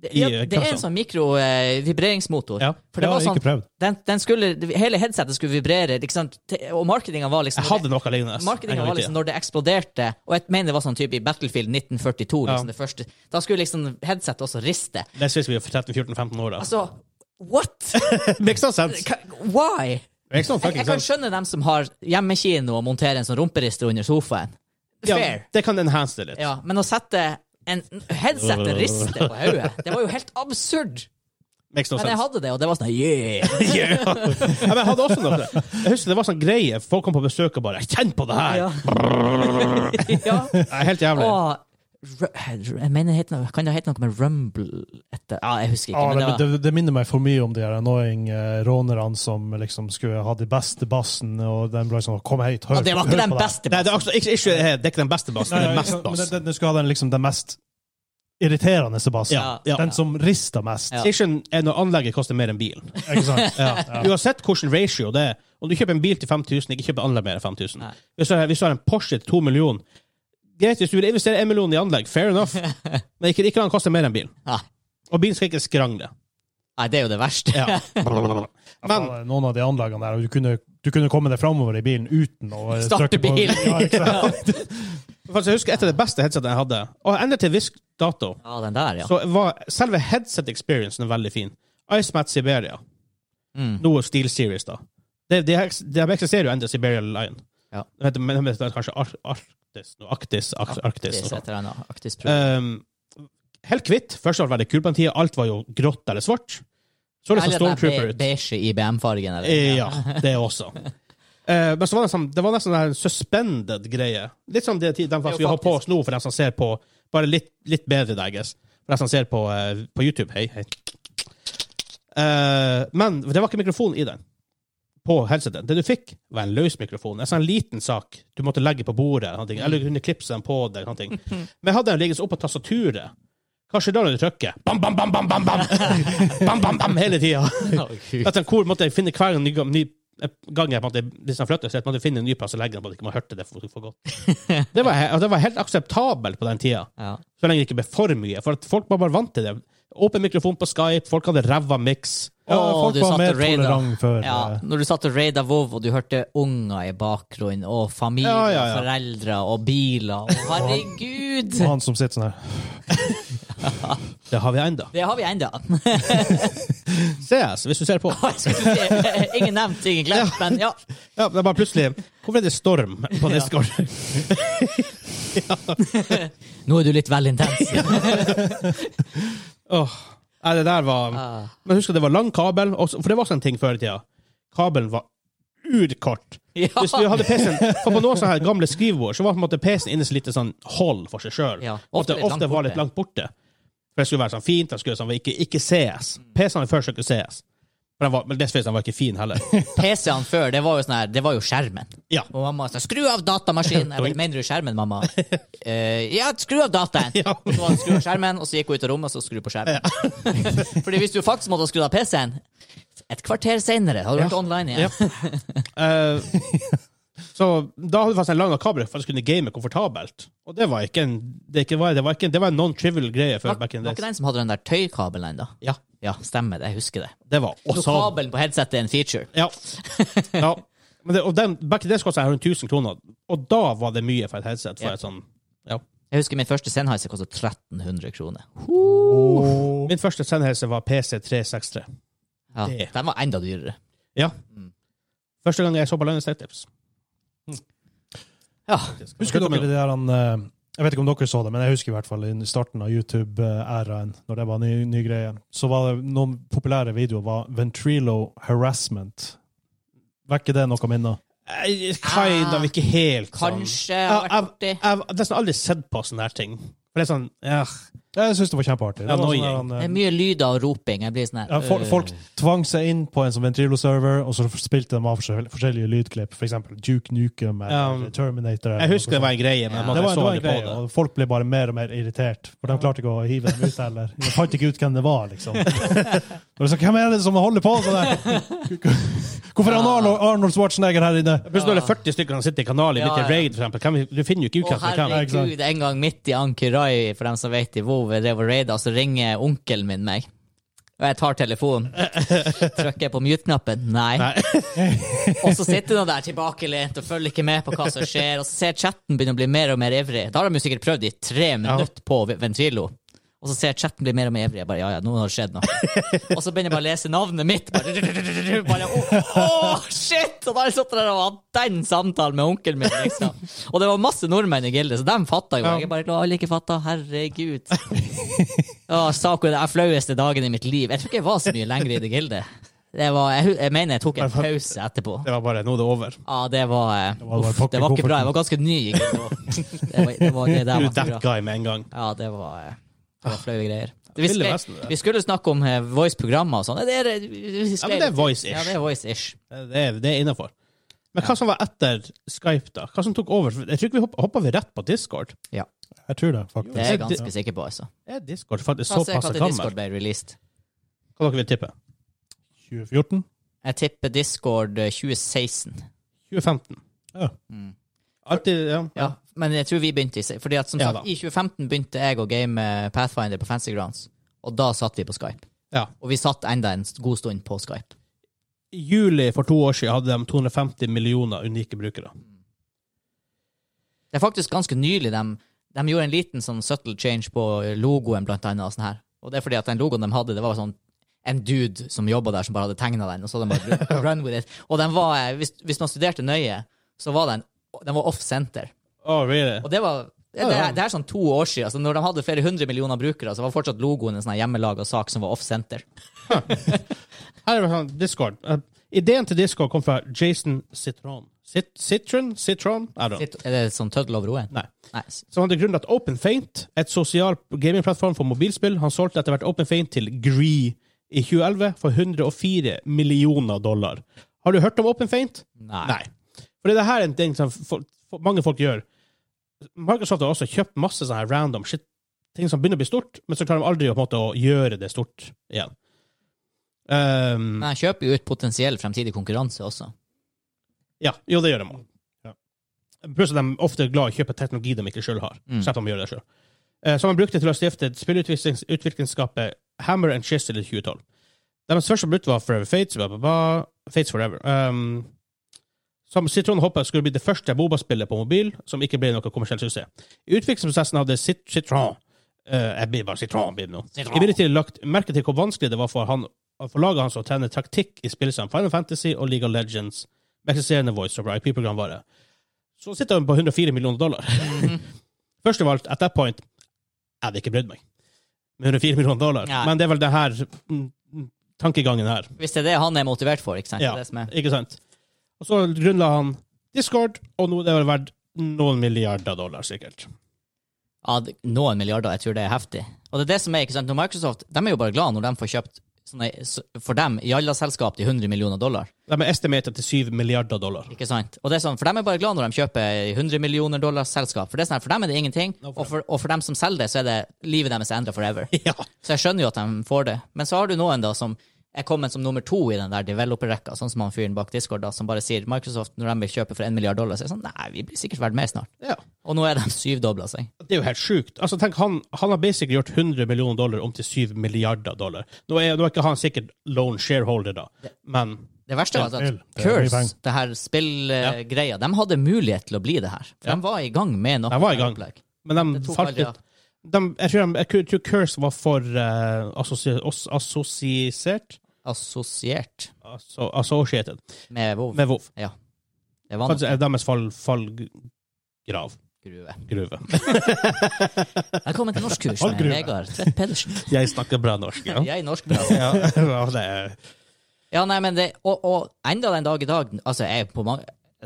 B: Det,
A: I,
B: ja,
A: eh,
B: det er en
A: kapselen.
B: sånn mikrovibreringsmotor.
A: Ja.
B: For det
C: Ja,
B: var
C: ikke
B: sånn
C: prøvd.
B: den, den skulle, Hele headsetet skulle vibrere, liksom, te- og marketinga var liksom
A: Jeg hadde noe lignende. altså, en
B: Marketinga
A: gang i
B: var liksom
A: tida.
B: når det eksploderte, og jeg mener det var sånn type i Battlefield 1942, liksom
A: Ja.
B: det første. Da skulle liksom headsetet også riste.
A: Det synes vi er for 13-14-15 år. da.
B: Altså, what?!
A: Makes no sense.
B: Ka- Why?!
A: Makes no
B: Jeg,
A: fucking
B: Altså, jeg kan
A: sense.
B: skjønne dem som har hjemmekino og monterer en sånn rumperister under sofaen.
A: Ja,
B: Fair.
A: det kan enhance det litt.
B: Ja, men å sette en headsetet riste på hodet, det var jo helt absurd!
A: Makes no
B: Men jeg
A: sense.
B: hadde det, og det var sånn yeah!
A: Ja, men jeg hadde også noe. Jeg husker det var sånn greie. Folk kom på besøk og bare 'Kjenn på det her!'
B: Ja. ja.
A: Det er helt jævlig.
B: Og ru- jeg mener, det heter noe- kan det hete noe med rumble etter Ja, jeg husker ikke.
C: Ja,
B: men det
C: Ah, det,
B: var...
C: det, det minner meg for mye om de her annoying eh, rånerne som liksom skulle ha de beste bassen, og den ble sånn Kom hit, hør,
B: Og det var
C: hør
B: ikke den
C: på det her."
B: beste
A: Nei, det er, også, ikke, ikke, det er ikke den beste bassen,
C: Nei,
A: det er
C: nei,
A: mest
C: men
A: bass.
C: den, den skulle ha den, liksom, den mest irriterende bassen.
A: Ja, ja.
C: Den som rister mest.
B: Ja.
A: Station er når anlegget koster mer enn bilen.
C: Ikke sant? Ja.
A: Uansett hvilken ratio det er. Om du kjøper en bil til 5000, ikke kjøp anlegg mer enn 5000.
B: Nei.
A: Hvis du, har, hvis du har en Porsche til 2 millioner, Greit, hvis du vil investere en million i anlegg, fair enough, men ikke, ikke la den koste mer enn bilen.
B: Nei.
A: Og bilen skal ikke skrangle.
B: Nei, det er jo det verste.
A: Ja. Men
C: Men, noen av de anleggene der, og du kunne, du kunne komme deg framover i bilen uten å eh,
B: Starte
C: trykke på-
B: bilen.
C: Ja, ikke sant?
A: faktisk, jeg husker et av de beste headsetene jeg hadde, og enda til viss dato,
B: Ja, den der, ja.
A: så var selve headset-experiencen veldig fin. IceMat Siberia,
B: Mm.
A: noe Steel Series, da. Det, det, eks- det eksisterer jo enda Siberia Line.
B: Ja.
A: Det heter, men det heter kanskje Ar Arktis, noe Arktis, Ar Arktis,
B: Arktis,
A: noe sånt.
B: et eller annet. Arktis Pro.
A: Um, helt kvitt. Først var det kult på en tid. Alt var jo grått eller svart. Så det så
B: Eller den
A: Stormtrooper
B: be-
A: ut.
B: beige IBM-fargen, eller?
A: Eh, Ja, det også. Eh, men så var det, sånn, det var nesten en suspended greie. Litt som det, den
B: Det er jo
A: vi har på
B: faktisk-
A: oss nå, for dem som ser på Bare litt, litt bedre, I guess. For dem som ser på, eh, på YouTube. Hei, hei. Eh, men det var ikke mikrofon i den. På headseten. Det du fikk, var en løs mikrofon. En sånn liten sak du måtte legge på bordet. Sånne ting. Eller du kunne klipse den på deg. Sånne ting. Men jeg hadde den liggende oppå tastaturet. Kanskje da når du trykker Bam, bam, bam, bam, bam, bam! bam, bam, bam hele tida.
B: Å, Gud.
A: Etter en kor måtte jeg finne hver ny, ny gang jeg på en måte, hvis jeg flyttet, så jeg måtte finne en ny plass og legge den på at ikke man hørte det for, for godt. Det var, he- og det var helt akseptabelt på den tida,
B: Ja.
A: så lenge det ikke ble for mye. For at folk var bare vant til det. Åpen mikrofon på Skype, folk hadde ræva mix.
C: Ja,
B: Å,
C: folk
B: du
C: var
B: satte
C: mer
B: raid, da.
C: tolerant før.
B: Ja,
C: eh,
B: når du satt og raida WoW, og du hørte unger i bakgrunnen, og familie
A: Ja, ja, ja.
B: og foreldre og biler og Herregud!
C: og han som sitter sånn her.
A: Det har vi ennå.
B: Det har vi ennå.
A: CS, hvis du ser på.
B: eh, Ingen nevnt, ingen glemt, men ja.
A: Ja, det er bare plutselig Hvorfor er det storm på Discord?
B: Nå er du litt vel intens.
A: Åh, Nei, det der var
B: Ah.
A: Men husk at det var lang kabel, og så- for det var også en ting før i tida. Kabelen var urkort.
B: Ja.
A: Hvis du hadde PC-en For på noen sånne her gamle skrivebord så var på en måte PC-en inne i et lite sånn hold for seg sjøl.
B: Ja,
A: ofte
B: ofte litt
A: ofte
B: langt
A: var
B: borte.
A: litt langt borte. For det skulle være sånn fint, det skulle sånn, ikke, ikke CS.
B: Mm.
A: PC-ene før skulle ikke CS. For den var, men dessuten den var ikke fin heller.
B: PC-ene før, det var jo sånn her, det var jo skjermen.
A: Ja.
B: Og mamma sa 'skru av datamaskinen'. Jeg bare, mener du skjermen, mamma? «Eh, ja, skru av dataen!
A: Ja.
B: Og så var det skru av skjermen, og så gikk hun ut av rommet, og så skru på skjermen. Fordi hvis du faktisk måtte skru av PC-en, et kvarter seinere hadde du vært online igjen.
A: Ja. Eh, så da hadde du faktisk en lang kabel for å kunne game komfortabelt. Og det var ikke en Det, ikke var, det, var, ikke, en- det var en non-trivial greie før
B: Var,
A: back in
B: var
A: the
B: ikke
A: days.
B: den som hadde den der tøykabelen ennå?
A: Ja,
B: Ja, stemmer det. Jeg husker det.
A: det var
B: Så
A: også
B: kabelen på headsetet er en feature.
A: Ja. ja. Men det, og den, back in the days kostet jeg rundt 1000 kroner, og da var det mye for et headset. For
B: Ja.
A: et sånn, ja.
B: Jeg husker min første Sennheiser kostet 1300 kroner.
A: Min første sendelse var PC363.
B: Ja,
A: Det- Sånn.
B: Den var enda dyrere.
A: Ja.
C: Mm.
A: Første gang jeg så på Linus Tech Tips.
B: Ja.
C: Husker dere Mm. det der han eh, Jeg vet ikke om dere så det, men jeg husker i hvert fall i starten av YouTube-æraen, når det var ny, ny greie, så var det noen populære videoer var Ventrilo Harassment. Vekker det noe minner?
A: Eh, Kind of, ikke helt sånn.
B: Kanskje
A: Jeg
B: har vært
A: jeg-
B: artig.
A: jeg har nesten aldri sett på sånne her ting. For det er sånn eh,
C: Jeg syns det var kjempeartig. Det var sånn der,
A: Annoying.
C: han,
B: Det
C: eh,
B: er mye lyder og roping. Jeg blir sånn her
C: Ja,
A: Eh.
C: folk, folk tvang seg inn på en sånn Ventrilo-server, og så spilte de av forskjell- forskjellige lydklipp. For eksempel Duke Nukem eller
A: Ja.
C: Terminator. eller
A: Jeg husker
C: noe
A: det var en greie, men
B: Ja.
A: man
C: Det var, det
A: så
C: var
A: aldri
C: en
A: på det.
C: greie, og folk ble bare mer og mer irritert. For de klarte ikke å hive dem ut heller. De fant ikke ut hvem det var, liksom. Og så, hvem er det som holder på sånn der? Hvorfor er han Arnold, Arnold Schwarzenegger her inne?
A: Plutselig når det er 40 stykker som sitter i kanalen
B: Ja,
A: midt i
B: ja.
A: raid, for eksempel. Hvem- Du finner jo ikke ut
B: Å,
A: hvem som er hvem.
C: ikke sant?
B: herregud, en gang midt i Ankirai, for dem som vet i WoW, jeg drev og raida, så altså ringer onkelen min meg. Og jeg tar telefonen. Trykker jeg på mute-knappen? Nei. og så sitter han der tilbakelent og følger ikke med på hva som skjer, og så ser jeg chatten begynne å bli mer og mer ivrig. Da har de jo sikkert prøvd i tre minutter på Ventrilo. Og så ser jeg chatten bli mer og mer ivrig. Jeg bare, ja, ja, nå har det skjedd noe. og så begynner jeg bare å lese navnet mitt. Bare, bare «Åh, åh, shit! Og da har jeg sittet der og hatt den samtalen med onkelen min, liksom. Og det var masse nordmenn i gildet, så dem fatta jo.
A: Ja.
B: Jeg er bare glad alle ikke fatta. Herregud. Ja, Saco er den flaueste dagen i mitt liv. Jeg tror ikke jeg var så mye lenger i det gildet. Det var, jeg, jeg mener jeg tok en pause etterpå.
A: Det var bare Nå er det over.
B: Ja, det var eh,
C: var
B: uff,
C: bare
B: Det var,
C: pakke
B: ikke bra.
C: kofferten.
B: Jeg var ganske ny. Ikke? sant? Det var, det var, det der
A: Du
B: var
A: er
B: ikke
A: that
B: bra.
A: guy med en gang.
B: Ja, det var, eh, det var flaue greier. Vi,
A: Ville
B: sklei-
A: Vesten, det.
B: vi skulle snakke om eh, voice-programmer og sånn. Det, er- vi
A: Ja,
B: sklei
A: men det er
B: litt.
A: voice-ish.
B: Ja, det er voice-ish.
A: Det er, det er innafor. Men hva som var etter Skype, da? Hva som tok over? For Jeg tror ikke vi hoppa, hoppa vi rett på Discord.
C: Jeg tror det, faktisk.
B: Det er jeg
A: det-
B: ganske sikker på, altså.
A: Er Discord faktisk
B: Hva
A: såpass
B: når Discord
A: gammel?
B: ble released?
A: Hva dere vil tippe?
C: 2014?
B: Jeg tipper Discord eh, 2016.
A: 2015?
C: Ja.
B: Mm.
A: Alltid, ja.
B: Ja, men jeg tror vi begynte i se- Fordi at som
A: Ja
B: sagt,
A: da.
B: i 2015 begynte jeg å game eh, Pathfinder på Fancy Grounds, og da satt vi på Skype.
A: Ja.
B: Og vi satt enda en st- god stund på Skype.
A: I juli for to år siden hadde de 250 millioner unike brukere.
B: Det er faktisk ganske nylig de, de gjorde en liten sånn subtle change på logoen, blant annet. Og, sånn her. og det er fordi at den logoen de hadde, det var sånn en dude som jobba der, som bare hadde tegna den, og så hadde de bare run with it. Og den var, eh, hvis, hvis man studerte nøye, så var den, den var off center.
A: Oh, really?
B: Og det var det, det, er, det er sånn to år siden. Så når de hadde flere hundre millioner brukere, så var fortsatt logoen en sånn hjemmelaga sak som var off-senter.
A: Her er det sånn Discord. Eh, ideen til Discord kom fra Jason Citron. Cit Citron? Citron? I don't know.
B: Sitt- Er det sånn tøddel over O-en?
A: Nei.
B: Nei.
A: Så han hadde grunnen til at OpenFaint, et sosial gamingplattform for mobilspill Han solgte etter hvert OpenFaint til Gree i 2011 for 104 millioner dollar. Har du hørt om OpenFaint?
B: Nei.
A: For det her er en ting som folk, folk- mange folk gjør. Microsoft har også kjøpt masse sånne her random shit, ting som begynner å bli stort, men så klarer de aldri å, på en måte, å gjøre det stort igjen. Ehm,
B: Men jeg kjøper jo ut potensiell fremtidig konkurranse også.
A: ja, jo, det gjør de òg.
C: Ja.
A: Pluss at de ofte er glad i å kjøpe teknologi de ikke sjøl har.
B: Mm.
A: Slipper de å gjøre det selv. Eh, Som de brukte til å stifte spillutviklingsskapet Hammer and Chisel i 2012. Deres første brutt var Forever Fates. Bla, bla, bla. Fates Forever. Um, som Citron håpet skulle bli det første Boba-spillet på mobil som ikke ble noe kommersiell suksess. I utviklingsprosessen hadde Cit Citron eh, Jeg blir bare Citron blir det nå.
B: Citron.
A: Imidlertid lagt merke til hvor vanskelig det var for, han, for laget hans å trene taktikk i spill som Final Fantasy og League of Legends med eksisterende voice over IP-programvare. Så sitter han på 104 millioner dollar. Først av alt, at that point, jeg hadde ikke brydd meg. Med 104 millioner dollar.
B: Nei.
A: Men det er vel det her mm, mm, tankegangen her.
B: Hvis det er det han er motivert for, ikke sant?
A: Ja.
B: Det er det som er.
A: Ikke sant? Og så grunnla han Discord, og nå er det vel verdt noen milliarder dollar, sikkert.
B: Ja, det- noen milliarder, jeg tror det er heftig. Og det er det som er, ikke sant? Når Microsoft de er jo bare glad når de får kjøpt sånne, s- for dem jalla-selskap til 100 millioner dollar.
A: De er estimert til 7 milliarder dollar.
B: Ikke sant? Og det er sånn, For dem er bare glad når de kjøper 100 millioner dollars selskap. For det er sånn, her, for dem er det ingenting,
A: No
B: og for, og for dem som selger det, så er det livet deres endra forever.
A: Ja.
B: Så jeg skjønner jo at de får det. Men så har du noen da som er kommet som nummer to i den der developer-rekka, sånn som han fyren bak Discord, da, som bare sier Microsoft, når de vil kjøpe for 1 milliard dollar, så er det sånn Nei, vi blir sikkert verdt mer snart.
A: ja.
B: Og nå er de syvdobla seg.
A: Det er jo helt sjukt. Altså, tenk, han, han har basically gjort 100 millioner dollar om til 7 milliarder dollar. Nå er, nå er ikke han sikkert lone shareholder, da, men
B: Det verste var at
C: Ja, vel. Det er mye
B: Curse,
C: penger.
B: det her spillgreia, de hadde mulighet til å bli det her. For
A: Ja.
B: de var i gang med noe.
A: De var i gang.
B: opplegg.
A: Men de
B: Det tok
A: falt
B: aldri av.
A: litt de, jeg, tror de, jeg tror- tror Curse var for eh, assosi- oss- assosiert
B: Assosiert
A: altså, Associated
B: med WoW.
A: med WoW.
B: Ja. Det var
A: Faktisk er deres fall, fallgrav.
B: nok gruve.
A: Gruve.
B: Velkommen til norskkurs
C: All
B: med
C: gruve.
B: Vegard Tvedt Pedersen.
A: Jeg snakker bra norsk, ja.
B: Jeg er norskbra.
A: ja, ja, det er,
B: Ja, nei, men det, og, og enda den dag i dag altså jeg er på mange,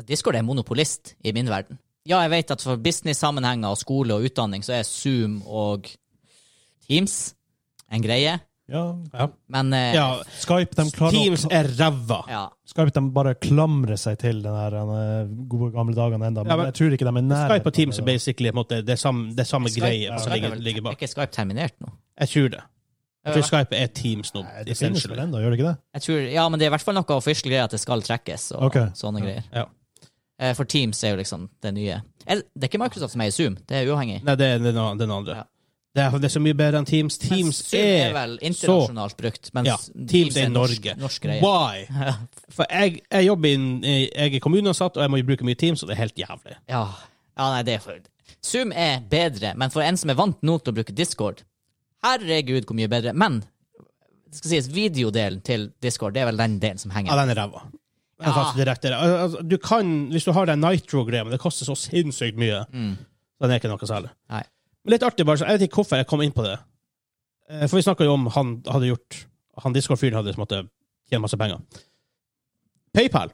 B: Discord er monopolist i min verden. Ja, jeg vet at for business-sammenhenger og skole og utdanning så er Zoom og Teams en greie,
C: Ja.
A: ja.
B: men eh,
A: ja.
C: Skype, de klarer å
A: Teams er ræva.
B: ja.
C: Skype de bare klamrer seg til den her eh, gode gamle dagene enda, men,
A: Ja, men-
C: jeg tror ikke de er nære.
A: Skype og Teams er basically på en måte, det er samme, det er samme greie som
B: Skype er
A: ligger,
B: vel-
A: ligger
B: Er
A: bak.
B: ikke Skype terminert nå?
A: Jeg tror det. Jeg tror
B: Eh,
A: Skype er Teams nå,
C: Nei, det finnes vel
A: essentially.
C: enda, gjør det ikke det?
B: Jeg tror, ja, men det er i hvert fall noe official greie at det skal trekkes og
C: Ok.
B: sånne greier.
A: Ja.
B: Eh, For Teams er jo liksom det nye. Er det- det er ikke Microsoft som er i Zoom, det er uavhengig.
A: Nei, det er den, den andre.
B: Ja.
A: Det, er, det er så mye bedre enn Teams. Teams
B: Zoom
A: er
B: er vel internasjonalt brukt, mens
A: Ja, Teams er i Norge.
B: Norsk, norsk greie.
A: Why? For jeg, jeg jobber inn, jeg er kommuneansatt, og jeg må jo bruke mye Teams, og det er helt jævlig.
B: Ja. ja, nei, det er for Zoom er bedre, men for en som er vant nå til å bruke Discord Herregud, hvor mye bedre. Men det skal sies, videodelen til Discord Det er vel den delen som
A: Ja,
B: henger.
A: den er ræva. Den er
B: Ja.
A: faktisk direkte ræva. Al- altså, Du kan, hvis du har den Nitro-greia, men det koster så sinnssykt mye,
B: Mm.
A: så den er ikke noe særlig.
B: Nei.
A: Men litt artig, bare, så jeg vet ikke hvorfor jeg kom inn på det. Eh, For vi snakka jo om han hadde gjort Han Discord-fyren hadde på en måte tjent masse penger. PayPal.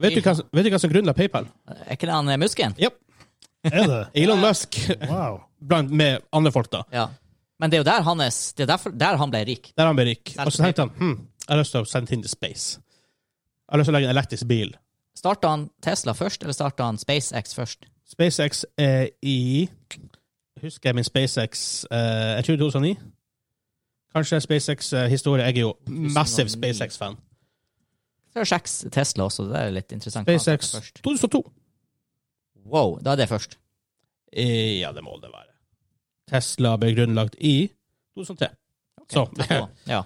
A: Vet du hva, vet du hva som grunnla PayPal?
B: Er ikke det han eh, Musken?
C: Er det?
A: Elon Musk,
C: Wow.
A: blant, med andre folk, da.
B: Ja. Men det er jo der, hans, det er derfor, der han ble rik.
A: Der han ble rik.
B: Sendte
A: Og så tenkte han hm, jeg har lyst til å sende ting til space. Jeg har lyst til å legge en elektrisk bil.
B: Starta han Tesla først, eller starta han SpaceX først?
A: SpaceX er i Husker jeg min SpaceX eh, Jeg tror 2009. Kanskje SpaceX-historie. jeg er jo massiv
B: 2009.
A: SpaceX-fan.
B: Så er det seks Tesla også, det er litt interessant.
A: SpaceX
B: Han startet først.
A: 2002.
B: Wow, da er det først.
A: Eh, Ja, det må det være. Tesla ble grunnlagt i 2003.
B: Ok,
A: Så.
B: takk for det. Ja.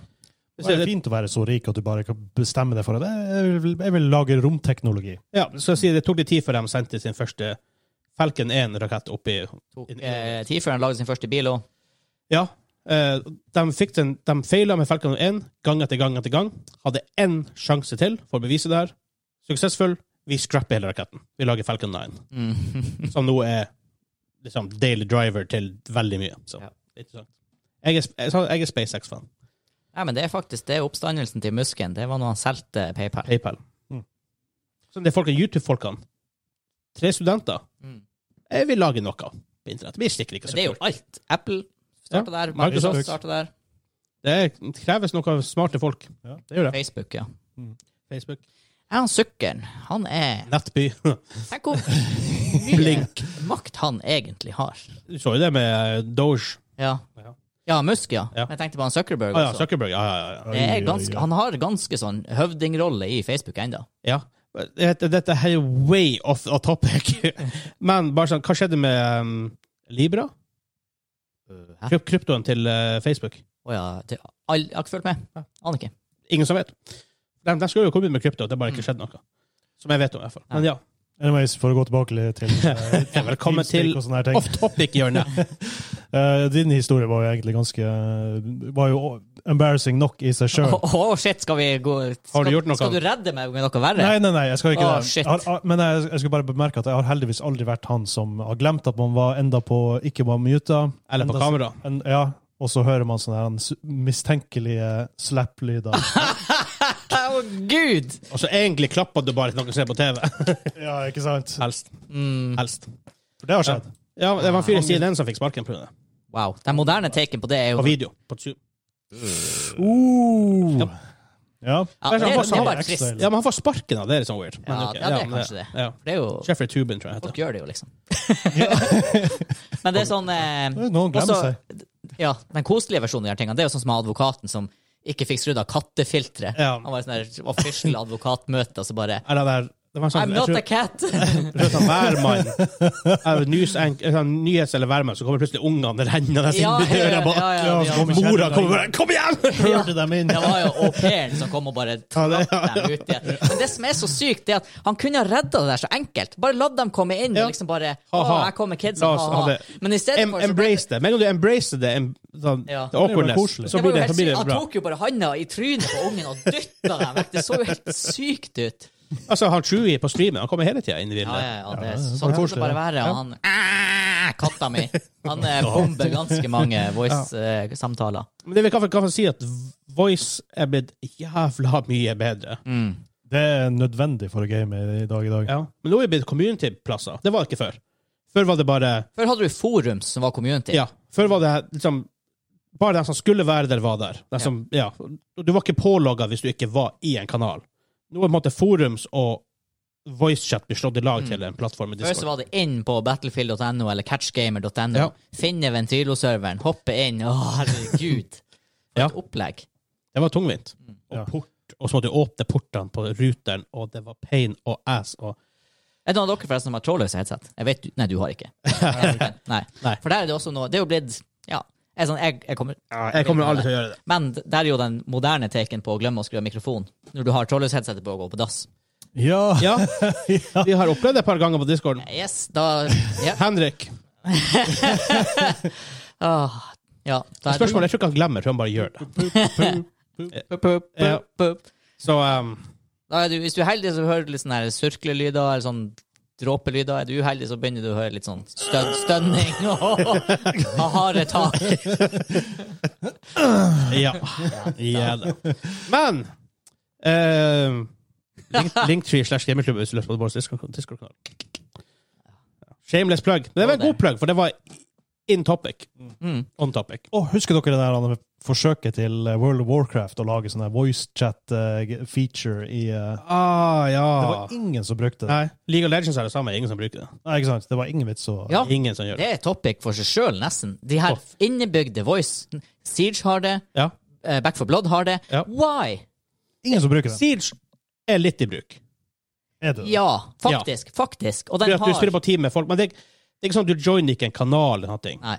C: Det er fint å være så rik at du bare kan bestemme deg for at jeg vil, jeg vil lage romteknologi.
A: Ja, så jeg sier det tok litt tid før de sendte sin første Falcon 1-rakett opp i
B: Tok eh, tid før han lagde sin første bil òg.
A: Ja. eh, De, fikk den- de feila med Falcon 1 gang etter gang etter gang. Hadde én sjanse til for å bevise det her. Suksessfull. Vi scrapper hele raketten. Vi lager Falcon 9,
B: Mm.
A: som nå er liksom daily driver til veldig mye. Så
B: Ja.
A: det er interessant. Jeg er, sp- jeg sa- jeg er SpaceX-fan.
B: Nei, men det er faktisk det er oppstandelsen til Musken. Det var når han solgte PayPal.
A: PayPal.
C: Mm.
A: Så det er folkene, YouTube-folkene. Tre studenter.
B: Mm.
A: Jeg vil lage noe på internett. Vi stikker ikke
B: Men
A: så
B: det er jo
A: kult.
B: alt. Apple starta der,
A: Microsoft.
B: Microsoft starta der,
A: Det kreves noe av smarte folk.
C: Ja.
A: Det gjør det.
B: Facebook, ja.
A: Facebook.
B: Er han sukkeren? Han er
A: Nettby.
B: Tenk hvor mye makt han egentlig har.
A: Du så jo det med eh, Doge.
B: Ja,
A: Ja.
B: ja Musk, ja.
A: Ja.
B: Jeg tenkte på han Zuckerberg
A: Ah, ja,
B: også.
A: Zuckerberg. Ja, ja, ja.
B: Det er ganske, han har ganske sånn høvdingrolle i Facebook ennå.
A: ja. Dette, dette her er way off of topic. Men bare sånn, hva skjedde med um, Libra?
B: Hæ?
A: Kryp kryptoen til eh, Facebook?
B: Å ja, det, all, jeg har ikke fulgt med. Aner ikke.
A: Ingen som vet. De, de skulle jo komme ut med krypto, det har
B: Mm.
A: bare ikke skjedd noe. Som jeg vet om, i hvert fall. Men ja.
C: Anyways, for å gå tilbake litt til, eh, til
A: Velkommen til
C: Teamspeak og sånne her ting.
A: Off topic-hjørnet.
C: Eh, din historie var jo egentlig ganske eh, Var jo embarrassing nok i seg sjøl.
B: Å å, shit, skal vi gå skal,
A: du gjort noe?
B: Skal du redde meg med noe verre?
C: Nei, nei, nei, jeg skal ikke
B: Å,
C: det.
B: shit.
C: Jeg har, ah, men jeg, jeg skal bare bemerke at jeg har heldigvis aldri vært han som har glemt at man var enda på ikke var muta.
A: Eller på
C: enda-
A: kamera.
C: En, ja, og så hører man sånne her s- mistenkelige slap-lyder.
B: Å, gud!
A: Og så egentlig klappa du bare til noen som ser på TV.
C: ja, ikke sant?
A: Helst.
B: Mm.
A: Helst.
C: For det har skjedd.
A: Ja, det var en fyr i CNN som fikk sparken pga. det.
B: Wow. Den moderne taken på det er jo
A: På video. På Zoom. Ja.
C: Uh. Ja.
B: Ja,
A: Kanskje han
B: det, er-
A: får
B: det er
A: sånn
B: bare
C: ekstra
B: trist.
C: ille.
A: Ja, men han får sparken av det, er litt sånn weird. Men
B: Ja,
A: ok,
B: ja, det er
A: men
B: kanskje det.
A: Ja.
B: For det er jo
A: Jeffrey Tubin, tror jeg han
B: Folk
A: heter.
B: gjør det jo, liksom. Men det er sånn eh,
C: Noen glemmer
B: også-
C: seg.
B: Ja, den koselige versjonen av de her tingene, det er jo sånn som han advokaten som ikke fikk skrudd av kattefilteret.
A: Ja.
B: Han var i sånn der official advokatmøte, og så bare
A: Er det der det var en sånn,
B: I'm
A: jeg
B: not
A: tror,
B: a cat!
A: jeg tror det var værmann. Er det news- en- en sånn Nyhets- eller værmann, så kommer plutselig ungene rennende inn
B: Ja,
A: i
B: ja,
A: døra. bare,
B: ja, ja,
C: Ja,
B: ja.
C: kom-
A: Mora kommer bare 'Kom igjen!'
C: Hørte dem inn.
B: Det var jo au pairen som kom og bare trakk dem ut igjen. Men det som er så sykt, det er at han kunne ha redda det der så enkelt. Bare latt dem komme inn
A: Ja.
B: og liksom bare Å,
A: Ha-ha.
B: jeg kom med kidsa,
A: La oss ha
B: ha-ha.
A: det.
B: Men i stedet
A: Em,
B: for så ble det-
A: embrace det. Med en gang du embracer det, em, sånn,
B: Ja.
A: det awkwardness,
C: Det
A: så
B: var
A: blir
B: jo
A: det,
B: helt
A: så blir
B: sykt.
A: det
B: Han
A: bra.
B: tok jo bare handa i trynet på ungen og dytta dem vekk. Det så jo helt sykt ut.
A: Altså, han Chewie på streamen, han kommer hele tida inn i
B: Ja,
A: bildet.
B: ja, ja, det,
C: Ja, det er
B: sånn får
C: koselig,
B: det bare være. Og han Æh, Katta mi. Han eh, bomber ganske mange eh, voice-samtaler.
A: Men det vi kan, kan si at voice er blitt jævla mye bedre.
C: Det er nødvendig for å game i dag i dag.
A: Ja. Men nå er det blitt community-plasser. Det var det ikke før. Før var det bare
B: Før hadde du forums, som var community.
A: Ja. Før var det liksom Bare de som skulle være der, var der. De som, ja. Du var ikke pålogga hvis du ikke var i en kanal. Nå er på en måte forums og voicechat blir slått i lag til en plattform i
B: Mm. Før så
A: Discord.
B: var det inn på battlefield.no eller catchgamer.no.
A: Ja.
B: Finne Ventrilo-serveren, hoppe inn. Å, herregud. For
A: Ja.
B: et opplegg.
A: Det var tungvint.
B: Mm.
C: Ja.
A: Og port, og så måtte du åpne portene på ruteren, og det var pain og ass og
B: Er det noen av dere forresten som har trådløse headset? Jeg vet, du- nei, du har ikke. Nei.
A: Nei.
B: For der er det også noe Det er jo blitt Ja. Jeg, er sånn, jeg, jeg kommer
A: Jeg kommer aldri til å gjøre det.
B: Men d- der er jo den moderne taken på å glemme å skru av mikrofonen. Når du har trådløs headset på å gå på dass.
C: Ja.
A: Ja, vi har opplevd det et par ganger på discorden.
B: Yes, da Ja.
A: Henrik,
B: Ah, ja da er
A: spørsmålet jeg tror ikke han glemmer, jeg tror han bare gjør det.
B: Pup, pup, pup,
A: Ja.
B: pup.
A: Så um,
B: Da er du, hvis du er heldig, så hører du litt sånne her surklelyder eller sånn dråpelyder. Er du uheldig, så begynner du å høre litt sånn stønn, stønning og harde tak.
A: Ja. ja da. Men eh, link- Linktree slash gamerklubb hvis du har lyst på vår Discord- Discord-kanal. Shameless plug. Men det var en
B: Ja, det.
A: god plug, for det var in topic.
B: Mm.
A: On topic.
C: Og husker dere det der forsøket til World of Warcraft å lage sånn voicechat-feature eh, i eh,
A: Ah,
C: Det
A: ja.
C: var ingen som brukte det.
A: Nei, League of Legends er det samme. Ingen som bruker det.
C: Nei, ikke sant? Det var ingen vits å
B: Ja,
A: Ingen som gjør
B: det
A: det.
B: er topic for seg sjøl, nesten. De her
A: Åh.
B: innebygde voice. Siege har det,
A: Ja.
B: eh, Back for Blood har det.
A: Ja.
B: Why?
C: Ingen som bruker det.
A: Siege er litt i bruk.
C: Er det det?
B: Ja, faktisk. Faktisk. Og
A: Fordi at
B: den
A: du
B: har
A: spiller på team med folk, men det, er- det er ikke sånn at du joiner ikke en kanal eller noe. Det
B: Nei.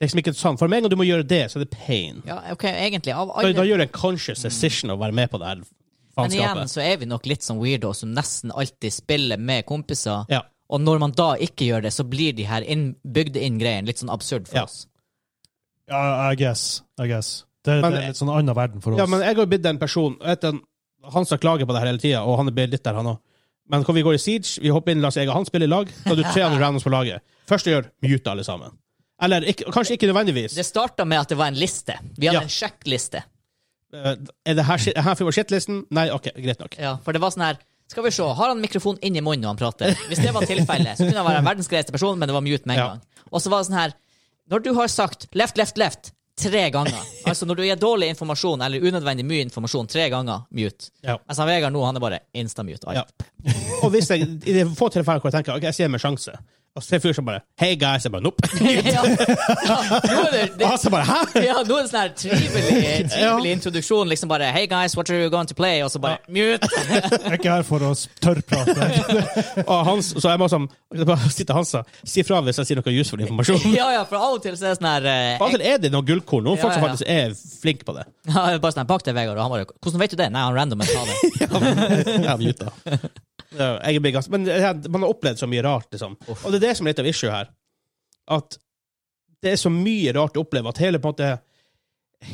A: er liksom ikke sånn. For med en gang du må gjøre det, så er det pain.
B: Ja, OK, egentlig. Av
A: Da, da
B: alle
A: gjør du en conscious decision å være med på det her
B: Men igjen
A: faenskapet.
B: så er vi nok litt som weirdo som nesten alltid spiller med kompiser.
A: Ja.
B: Og når man da ikke gjør det, så blir de her inn, bygde inn greiene litt sånn absurd for
A: Ja.
B: oss.
C: Ja, I guess. I guess. Det,
A: Men-
C: det er litt sånn annen verden for oss.
A: ja, men jeg har jo blitt den personen vet du, Han som klager på det her hele tida, og han er blitt litt der, han òg. Men når vi går i Siege, vi hopper inn langs jeg og han spiller i lag, da har du tre andre randoms på laget. Først du gjør, mute alle sammen. Eller ikke, kanskje ikke nødvendigvis.
B: Det starta med at det var en liste. Vi hadde
A: Ja.
B: en sjekkliste.
A: Eh, Er det her, shit- her for shitlisten? Nei, OK, greit nok.
B: Ja, for det var sånn her Skal vi se, har han mikrofon inni munnen når han prater? Hvis det var tilfellet, så kunne han være verdens greieste person, men det var mute med en
A: Ja.
B: gang. Og så var det sånn her Når du har sagt left, left, left tre ganger, altså når du gir dårlig informasjon eller unødvendig mye informasjon tre ganger, mute.
A: Ja.
B: Mens han Vegard nå, han er bare insta-mute. alt.
A: Ja. Og hvis jeg, i det få tilfeller hvor jeg tenker ok, jeg ser meg en sjanse, og så ser jeg en fyr som bare Hei, guys. Jeg bare Nope.
B: ja. Nå er det,
A: Og
B: det
A: han så bare Hæ?
B: ja, nå er det sånn her trivelig, trivelig introduksjon. Liksom bare Hey guys, what are you going to play? Og så bare mute.
C: Jeg er ikke her for å tørrprate.
A: Og han, så jeg må sånn jeg bare sitter han sa Si fra hvis jeg sier noe useful informasjon.
B: Ja, ja, for av og til så er det sånn her eh,
A: Av og til er det noen gullkorn. Noen folk som
B: Ja, ja.
A: faktisk er flinke på det.
B: Ja, det er bare sånn, bak deg, Vegard. Og han bare, hvordan vet du det? Nei, han randomen sa det.
A: Jeg blir ute. Ja, Jeg blir ganske, men det her- man har opplevd så mye rart, liksom.
B: Uff.
A: Og det er det som er litt av issue her. At det er så mye rart å oppleve at hele, på en måte,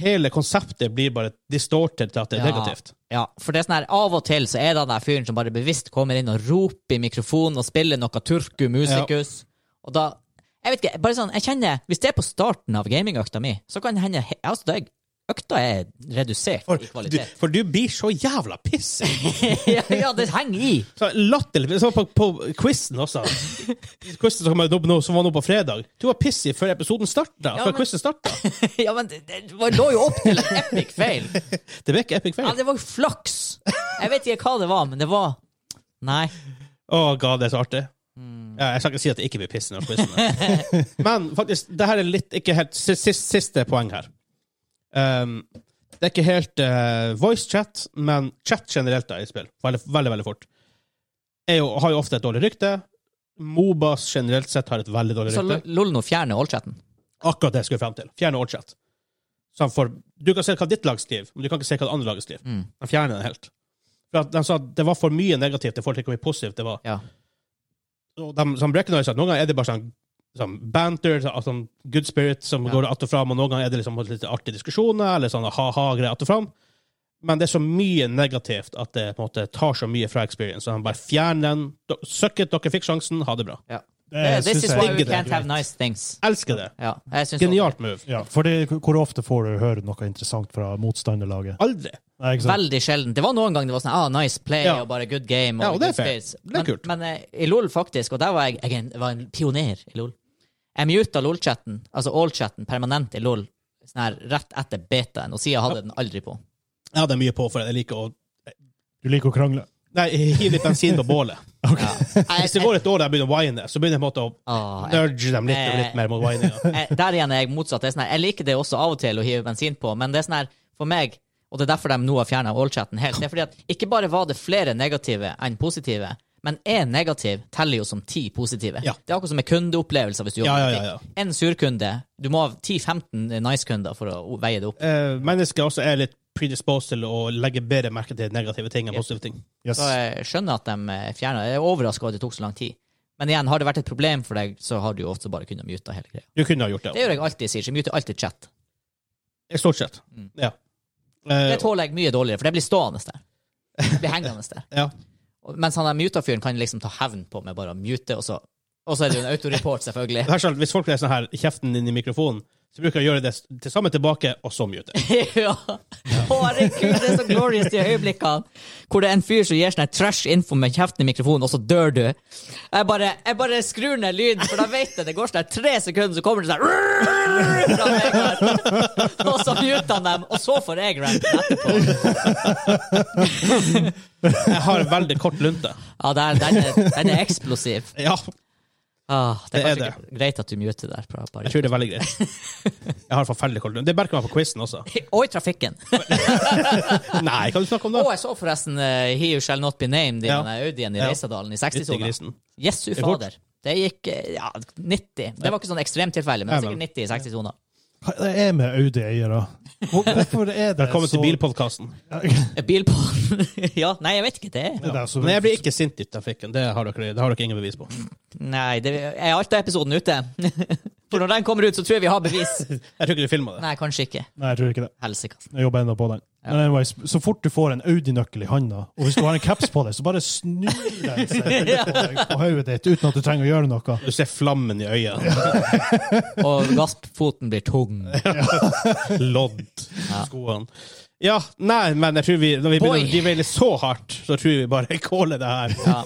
A: hele konseptet blir bare distorted til at det er
B: Ja.
A: negativt.
B: Ja, for det er sånn her, av og til så er det han der fyren som bare bevisst kommer inn og roper i mikrofonen og spiller noe turku musicus. Og da, jeg vet ikke, bare sånn, jeg kjenner, hvis det er på starten av gamingøkta mi, så kan det hende, he- altså, da er- økta er redusert
A: For
B: i
A: du,
B: kvalitet.
A: for du blir så jævla pissig!
B: ja, ja, det henger i.
A: Så latterlig. Så på, på quizen også. Quizen som, kom ut nå, som var nå på fredag. Du var pissig før episoden starta.
B: Ja,
A: før
B: men-
A: quizen starta.
B: ja, men det, det var- lå jo opp til en epic feil.
A: Det ble ikke epic
B: Ja,
A: fail.
B: det var jo flaks. Jeg vet ikke hva det var, men det var, nei.
A: Å, god, det er så artig.
B: Mm.
A: Ja, jeg skal ikke si at det ikke blir piss når quizen er Men faktisk, det her er litt ikke helt si- si- Siste poeng her. Um, det er ikke helt eh, voice chat, men chat generelt da i spill, veldig, veldig, veldig fort, er jo, har jo ofte et dårlig rykte. Mobas generelt sett har et veldig dårlig
B: Så
A: rykte.
B: lol nå fjerner all-chatten.
A: Akkurat det jeg skulle frem til. Fjerne oddchat. Sånn for, du kan se hva ditt lag skriver, men du kan ikke se hva det andre laget skriver.
B: Mm.
A: De fjerner den helt. For at de sa at det var for mye negativt i forhold til hvor mye positivt det var.
B: Ja.
A: Og de som recogniser at noen ganger er det bare sånn, sånn banter, så- sånn good spirit som
B: Ja.
A: går att og fram, og noen ganger er det liksom litt artige diskusjoner, eller sånn ha-ha-greier att og fram. Men det er så mye negativt at det på en måte tar så mye fra experience. Så de bare fjerner den. Do- Suck it, dere fikk sjansen, ha det bra.
B: Eh, This
C: synes
B: is
C: jeg-
B: why we
A: Digger det.
B: can't have nice things.
A: Elsker det.
B: Ja, jeg synes
A: Genialt move.
C: Ja, for det, hvor ofte får du høre noe interessant fra motstanderlaget?
A: Aldri.
C: Nei,
B: også.
C: ikke sant?
B: Veldig sjelden. Det var noen ganger det var sånn ah, nice play
A: Ja.
B: og bare good game.
A: Ja, og det er
B: good
A: fair.
B: space.
A: Det er
B: men,
A: kult.
B: Men eh, i LOL, faktisk, og der var jeg, jeg en- var en pioner i LOL Jeg muta LOL-chatten, altså all-chatten, permanent i LOL sånn her, rett etter betaen, og siden hadde jeg den aldri på.
A: Jeg hadde mye på for det. Jeg liker å
C: Du liker å krangle.
A: Nei, hiv litt bensin på bålet.
B: Ja. Jeg,
A: Hvis det
B: jeg,
A: går et år der jeg begynner å whine, så begynner jeg på en måte å
B: ah, Eh. jeg,
A: nudge dem litt, og litt mer mot whininga.
B: jeg, der igjen er jeg motsatt. Det er sånn her, jeg liker det også av og til å hive bensin på, men det er sånn her, for meg Og det er derfor de nå har fjerna all-chatten helt. Det er fordi at ikke bare var det flere negative enn positive, men én negativ teller jo som ti positive.
A: Ja.
B: Det er akkurat som med kundeopplevelser. Hvis du
A: Ja,
B: jobber
A: ja,
B: i
A: ja,
B: butikk. En surkunde. Du må ha 10-15 nice-kunder for å veie det opp.
A: Eh, mennesker også er litt predisposed til å legge bedre merke til negative ting enn
B: Ja.
A: positive ting.
C: Yes.
B: Så jeg skjønner at de eh, fjerner Jeg er overraska at det tok så lang tid. Men igjen, har det vært et problem for deg, så har du jo ofte bare kunnet mute hele greia.
A: Du kunne ha gjort
B: Det
A: det.
B: gjør jeg alltid, sier jeg. Mute alltid chat.
A: det Stort sett.
B: Mm.
A: Ja. Eh,
B: Det tåler jeg mye dårligere, for det blir stående der. Det blir hengende der.
A: ja.
B: Og- Mens han der muta-fyren kan liksom ta hevn på med bare å mute, og så Og så er det jo en autoreport, selvfølgelig.
A: Her, selv, hvis folk er sånn her, kjeften din i mikrofonen, så bruker jeg å gjøre det s- til sammen tilbake, og så mute.
B: ja. Å, Herregud, det er så glorious de øyeblikkene hvor det er en fyr som gir sånn her trash info med kjeften i mikrofonen, og så dør du. Jeg bare, jeg bare skrur ned lyden, for da vet jeg det går sånn her tre sekunder, så kommer det sånn her fra Vegard. Og så muter han dem, og så får jeg ranten etterpå.
A: Jeg har veldig kort lunte.
B: Ja, der, den, er, den er eksplosiv.
A: Ja.
B: Ah, det
A: Det
B: er,
A: er
B: kanskje ikke greit at du muter der. Bare, bare.
A: Jeg tror det er veldig greit. Jeg har forferdelig kold Det merker man på quizen også.
B: Og i trafikken.
A: Nei, hva du snakker om
B: Og
A: da?
B: jeg så forresten eh, He Who Shall Not Be Named i
A: Ja.
B: denne Audien i
A: Ja.
B: Reisadalen i
A: Fytti
B: 60-sona.
A: grisen.
B: Jesu
A: er fort.
B: fader. Det gikk eh, ja, 90. Det var ikke sånn ekstremtilfelle, men
A: Ja,
B: sikkert
A: men-
B: 90 i 60-sona.
C: Hva det er med Audi-eiere? Hvor- Hvorfor er det
A: Velkommen til
C: så-
A: bilpodkasten.
B: Bil på Eh, Ja, nei, jeg vet ikke det.
C: Det er så-
A: Men jeg blir ikke sint i trafikken. Det har dere, det har dere ingen bevis på.
B: Nei, det, er alt av episoden ute? For når den kommer ut, så tror jeg vi har bevis.
A: Jeg tror ikke du filma det.
B: Nei, kanskje ikke.
C: Nei, jeg tror ikke det.
B: Helsikas.
C: Jeg jobber ennå på den. Men anyways, så fort du får en Audi-nøkkel i handa, og hvis du har en caps på deg, så bare snur den seg på deg på hodet ditt uten at du trenger å gjøre noe.
A: Du ser flammen i øynene.
B: Og gassfoten blir tung.
A: Lodd. Skoene. Ja, nei, men jeg tror vi, når vi
B: Boy.
A: begynner å deraile så hardt, så tror jeg vi bare caller det her.
B: Ja.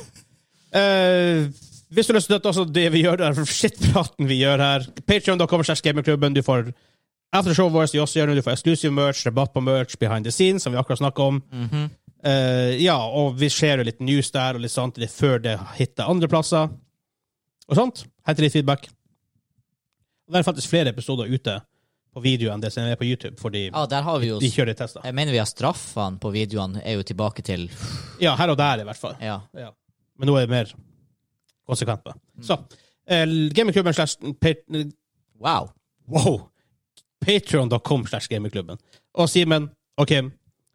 A: Eh, hvis du har lyst til å støtte også det vi gjør der, shitpraten vi gjør her Patreon.com slash gamingklubben. Du får aftershowet vårt, vi også gjør det. Du får exclusive merch, rabatt på merch, behind the scenes, som vi akkurat snakket om. Eh, ja, og vi ser jo litt news der, og litt sånt, litt før det hitter andre plasser. Og sånt. Henter litt feedback. Og det er faktisk flere episoder ute på video enn det som er på YouTube, fordi
B: ja, der har vi jo
A: de kjører tester.
B: Jeg mener vi har straffene på videoene, er jo tilbake til
A: Ja, her og der, i hvert fall.
B: Ja.
A: Ja. Men nå er det mer konsekvent. da. Så eh, gamingklubben slash pa-
B: Wow.
A: Wow! Patreon.com slash gamingklubben. Og Simen og Kim,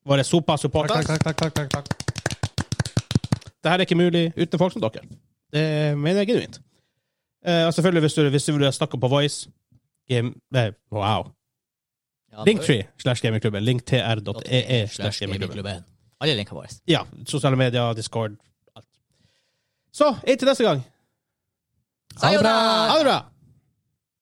A: våre sopa-supportere.
C: Takk, takk, takk, takk, takk.
A: Dette er ikke mulig uten folk som dere. Det mener jeg genuint. Eh, og selvfølgelig, hvis du, hvis du vil snakke på Voice game, eh, Wow.
B: Ja,
A: Linktree slash gamingklubben. Linktr.ee e slash gamingklubben.
B: gamingklubben. Alle linker våre.
A: Ja. Sosiale medier, Discord, alt. Så inntil neste gang. Ha det bra!